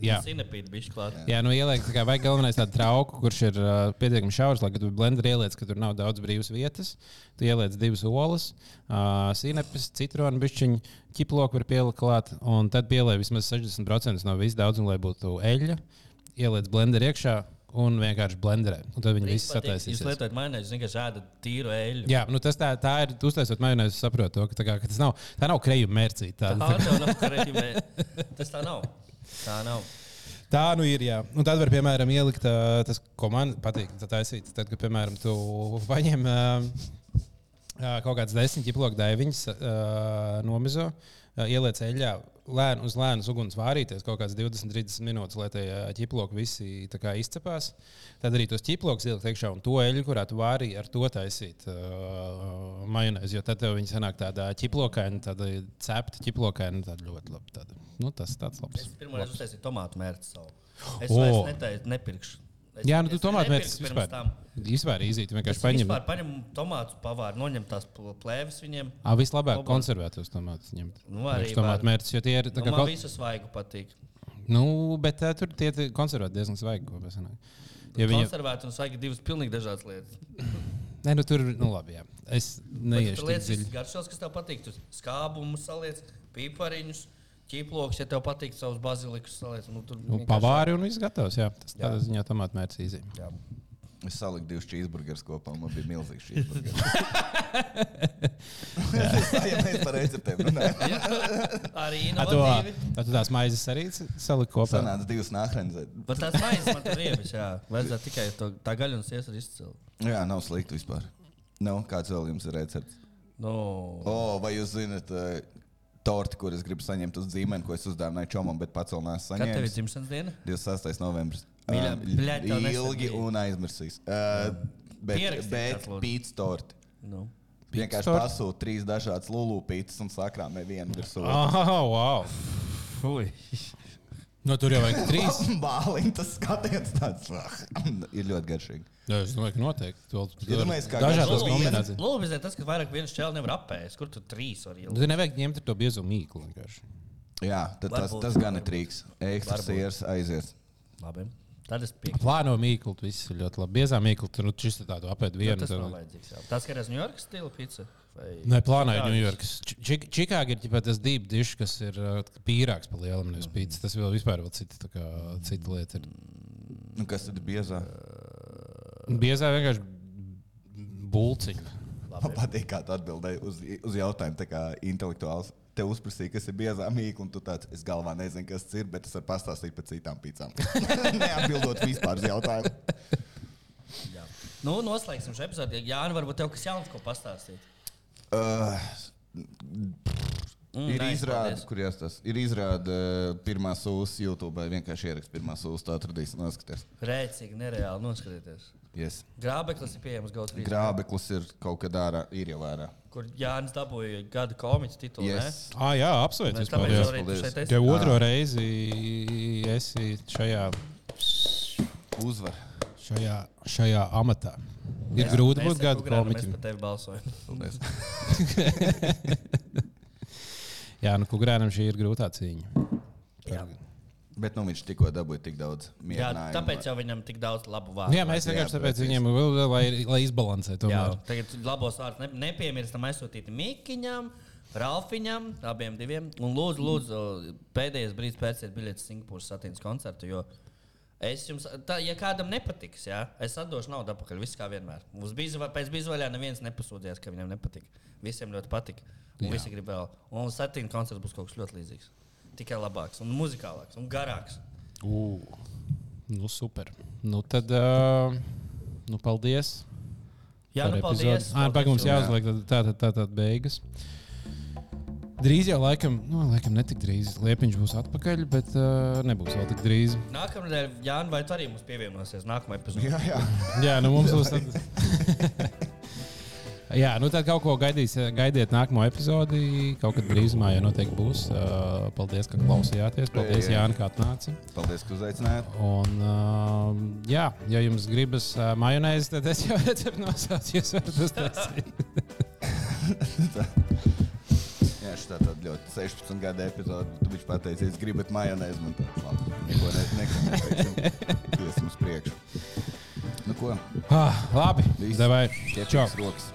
jā. sinepīti bišķi klāt. jā nu, ieliek, tā kā vajag galvenais tādu trauku, kurš ir uh, pietiekami šaurs, lai gan blenderī ieliec, ka tur nav daudz brīvas vietas. Tu ieliec divas olas, uh, sinepes, citronu pišķiņu, ķiploku var pielikt klāt, un tad pieliec vismaz 60% no visu daudzumu, lai būtu eļļa. Ieliec blenderī iekšā un vienkārši blenderē. Un tad viņi visi Jūs sataisīs. lietojat mainājumus, vienkārši ēdat tīru eļļu. Jā, nu tas tā, tā ir. Uztaisot majonēzi, es saprotu, to, ka, tā kā, ka tas nav, tā nav krējuma mērcīte. Tā, tā, Tā nav korekta. Tas tā nav. Tā nav. tā nu ir. Jā. Un tad var, piemēram, ielikt ā, tas, ko man patīk. Tad, taisīt, tad kad, piemēram, tu paņem ā, ā, kaut kādas desmit ķiploku daiviņas, ā, nomizo, ā, ieliec eļļā. Lēn, uz lēnas uguns vārīties kaut kādas 20-30 minūtes, lai tie ā, ķiploki visi tā kā izcepās. Tad arī tos ķiplokus ielikt iekšā un to eļļu, kurā tu vārīji, ar to taisīt uh, majonēzi. Jo tad tev viņi sanāk tādā ķiplokainā, tāda cepta ķiplokainā, nu, tad ļoti labi. Tāda. Nu, tas tāds labs. Pirmā reize uztaisīju tomātu mērci savu. Es O. vairs netaisu, nepirkšu. Es- Jā, nu tu es tomātu nepirku mērķis pirms vispār. tam. Vispār īzīt, Es vienkārši paņem. vispār paņemu tomātu pavāru, noņem tās pl- plēves viņiem. Ā, vislabāk Labāk. konservētos tomātus ņemt. Nu, arī Priekš tomātu var. mērķis, jo tie ir. tā Nu, kā man kol- visu svaigu patīk. Nu, bet tā, tur tie tie konservēti diezgan svaigi. kopā sanāk. Ja Viņa... viņi, Konservēt un svaigi divas pilnīgi dažādas lietas. nē, nu tur, nu labi, jā. Es Bet neiešu Tur tik lietas dziļi. visas garšas, kas tev patīk. Tu skābumus saliec, pīpariņus, ķīplokus, ja tev patīk savus bazilikus saliec. Nu, tur Nu, vienkārši- Pavāri un viss gatavs, jā. Tas tādā ziņā tomātu mērķis īzīt. Jā. Es saliku divus cheeseburgerus kopā, un man bija milzīgs cheeseburgers. Jā, mēs par receptēm runājam. Jā, Arī Ar to, inovatīvi. ar to tās maizes arī salikt kopā. Sanāca divas nahrenzēt. Bet tās maizes man tur iebis, jā. Vajadzētu tikai to, tā gaļa un siesa ir izcila. Jā, nav slikti vispār. Nav kāds vēl jums ir recepts. No. O, vai jūs zinat, eh, torti, kur es gribu saņemt uz dzīmēm, ko es uzdāvināju čomam, bet pats vēl neesmu Kad tev ir saņēmis? dzimšanas diena? 26. novembris. Mīļā, Ā, bļaļ, tev nesen ilgi bija. un aizmirsīs. Ā, Bet, Pierakstīt bet kāds, lūdzu. pīts torti. Nu. Vienkārši torti? pasūta trīs dažādas lulupītas un sakrāmē vienu virsū. Ah. Oh, wow. Fui. Nu, tur jau vajag trīs. Bāliņš tas skatiens tāds - ir ļoti garšīgi. Jā, es domāju, ka noteikti. Vēl- Iedomājies, kā dažādas garšo vienu. kombinācijas. Lūdzu, tas, ka vairāk viens čēlis nevar apēst. Kur tu trīs var ielikt? Nu, Tur nevajag ņemt ar to biezo mīklu. vienkārši. Jā, tad tas, Varbūt, tas gan ir varbūt. trīks. Ekstra sieras aizies. Labi. Tad es piekrītu. Plāno mīklu, tas viss ir ļoti labi. Biezā mīklu, tur nu, šis ir tāds apēd vienu. Tas tad- Nu, nav vajadzīgs. jā. Tas, ka ir Ņujorkas stila pizza. vai- Nē, plānoju Ņujorkas. Či- Čik- Čikāga ir ģipā, tas deep dish, kas ir uh, pīrāks par lielu nevis pīcis. Tas vēl vispār vēl cita, tā kā, cita lieta. Ir. Nu, kas tad ir biezā? Biezā vienkārši bulciņa. Man patīk, kā tu atbildēji uz, uz jautājumu, tā kā intelektuāls. Te uzprasīja, kas ir biezā mīkla, un tu tāds - es galvā nezinu, kas tas ir, bet es varu pastāstīt par citām pīcām. Neatbildot vispār uz jautājumu. Jā. Nu, noslēgsim šo epizodi. Jā, nu varbūt tev kas jauns, ko pastāstīt. Uh, Mm, ir nē, izrāde, paldies. kur jāstāsta. Ir izrāde uh, pirmā sūs YouTube, vienkārši ierakst pirmā sūs, tā atradīs un noskaties. Rēcīgi, nereāli noskatīties. Yes. Grābeklis ir pieejams GOT3. Grābeklis ir kaut kad ārā, ir jau ārā. kur Jānis dabūja gada komiķa titulu. Yes. Yes. Ah, jā, apsveicu. Tāpēc vispār, jā. arī tu paldies. šeit esi. Jau otro reizi esi šajā, Uzvar. šajā, šajā amatā. Ir jā, grūti būt gada komiķim. Mēs par tevi balsojam. Paldies. Jā, nu, kukurēnam šī ir grūtā cīņa. Jā. Bet nu, viņš tikko dabūja tik daudz Jā, mierinājumu. tāpēc jau viņam tik daudz labu Nu, vārdu. jā, mēs jā, vienkārši tāpēc precīzi. viņiem vēl, vēl, lai, lai izbalansētu. Jā, tomēr. tagad labos vārdus ne, nepiemirstam aizsūtīt Mikiņam, Ralfiņam, abiem diviem. Un lūdzu, lūdzu pēdējais brīdis pērciet biļetes Singapūras satīnas koncertu. Jo es jums, tā, ja kādam nepatiks, jā, es atdošu naudu atpakaļ. Viss kā vienmēr. Uz bizva, pēc bizvaļā neviens nepasūdzējās, ka viņam nepatika. Visiem ļoti patika. Un visi grib vēl. Un satīna koncerts būs kaut kas ļoti līdzīgs. Tikai labāks, un muzikālāks, un garāks. Ū, Nu, super. Nu, tad, uh, nu, paldies. Jā, nu, paldies. Ah, pagaidām, mums jums. jāuzliek tā, tā, tā, tā beigas. Drīz jau, laikam, nu, laikam netik drīz. Liepiņš būs atpakaļ, bet uh, nebūs vēl tik drīz. Nākamnedēļ, Jānis, vai tu arī mums pievienosies nākamajā epizodē? Jā, jā. Jā, nu mums būs. Tad... Jā, nu tad kaut ko gaidīs, gaidiet nākamo epizodi. Kaut kad drīzumā jau noteikti būs. Uh, paldies, ka klausījāties. Paldies, Jā, jā. Jānis, kā atnāci. Paldies, ka uzaicinājāt. Un, uh, jā, ja jums gribas uh, majonēzi, tad es jau recepti nosaucu. Jūs varat uztaisīt. Jā, šī tāda ļoti 16 gada epizode. Tu viņš pateica, es gribu majonēzi, man tāds labi. Neko ne, neko neteiksim. Iesim uz priekšu. Nu ko, Ah, labi, Viss. devai. Čau! ķepies rokas.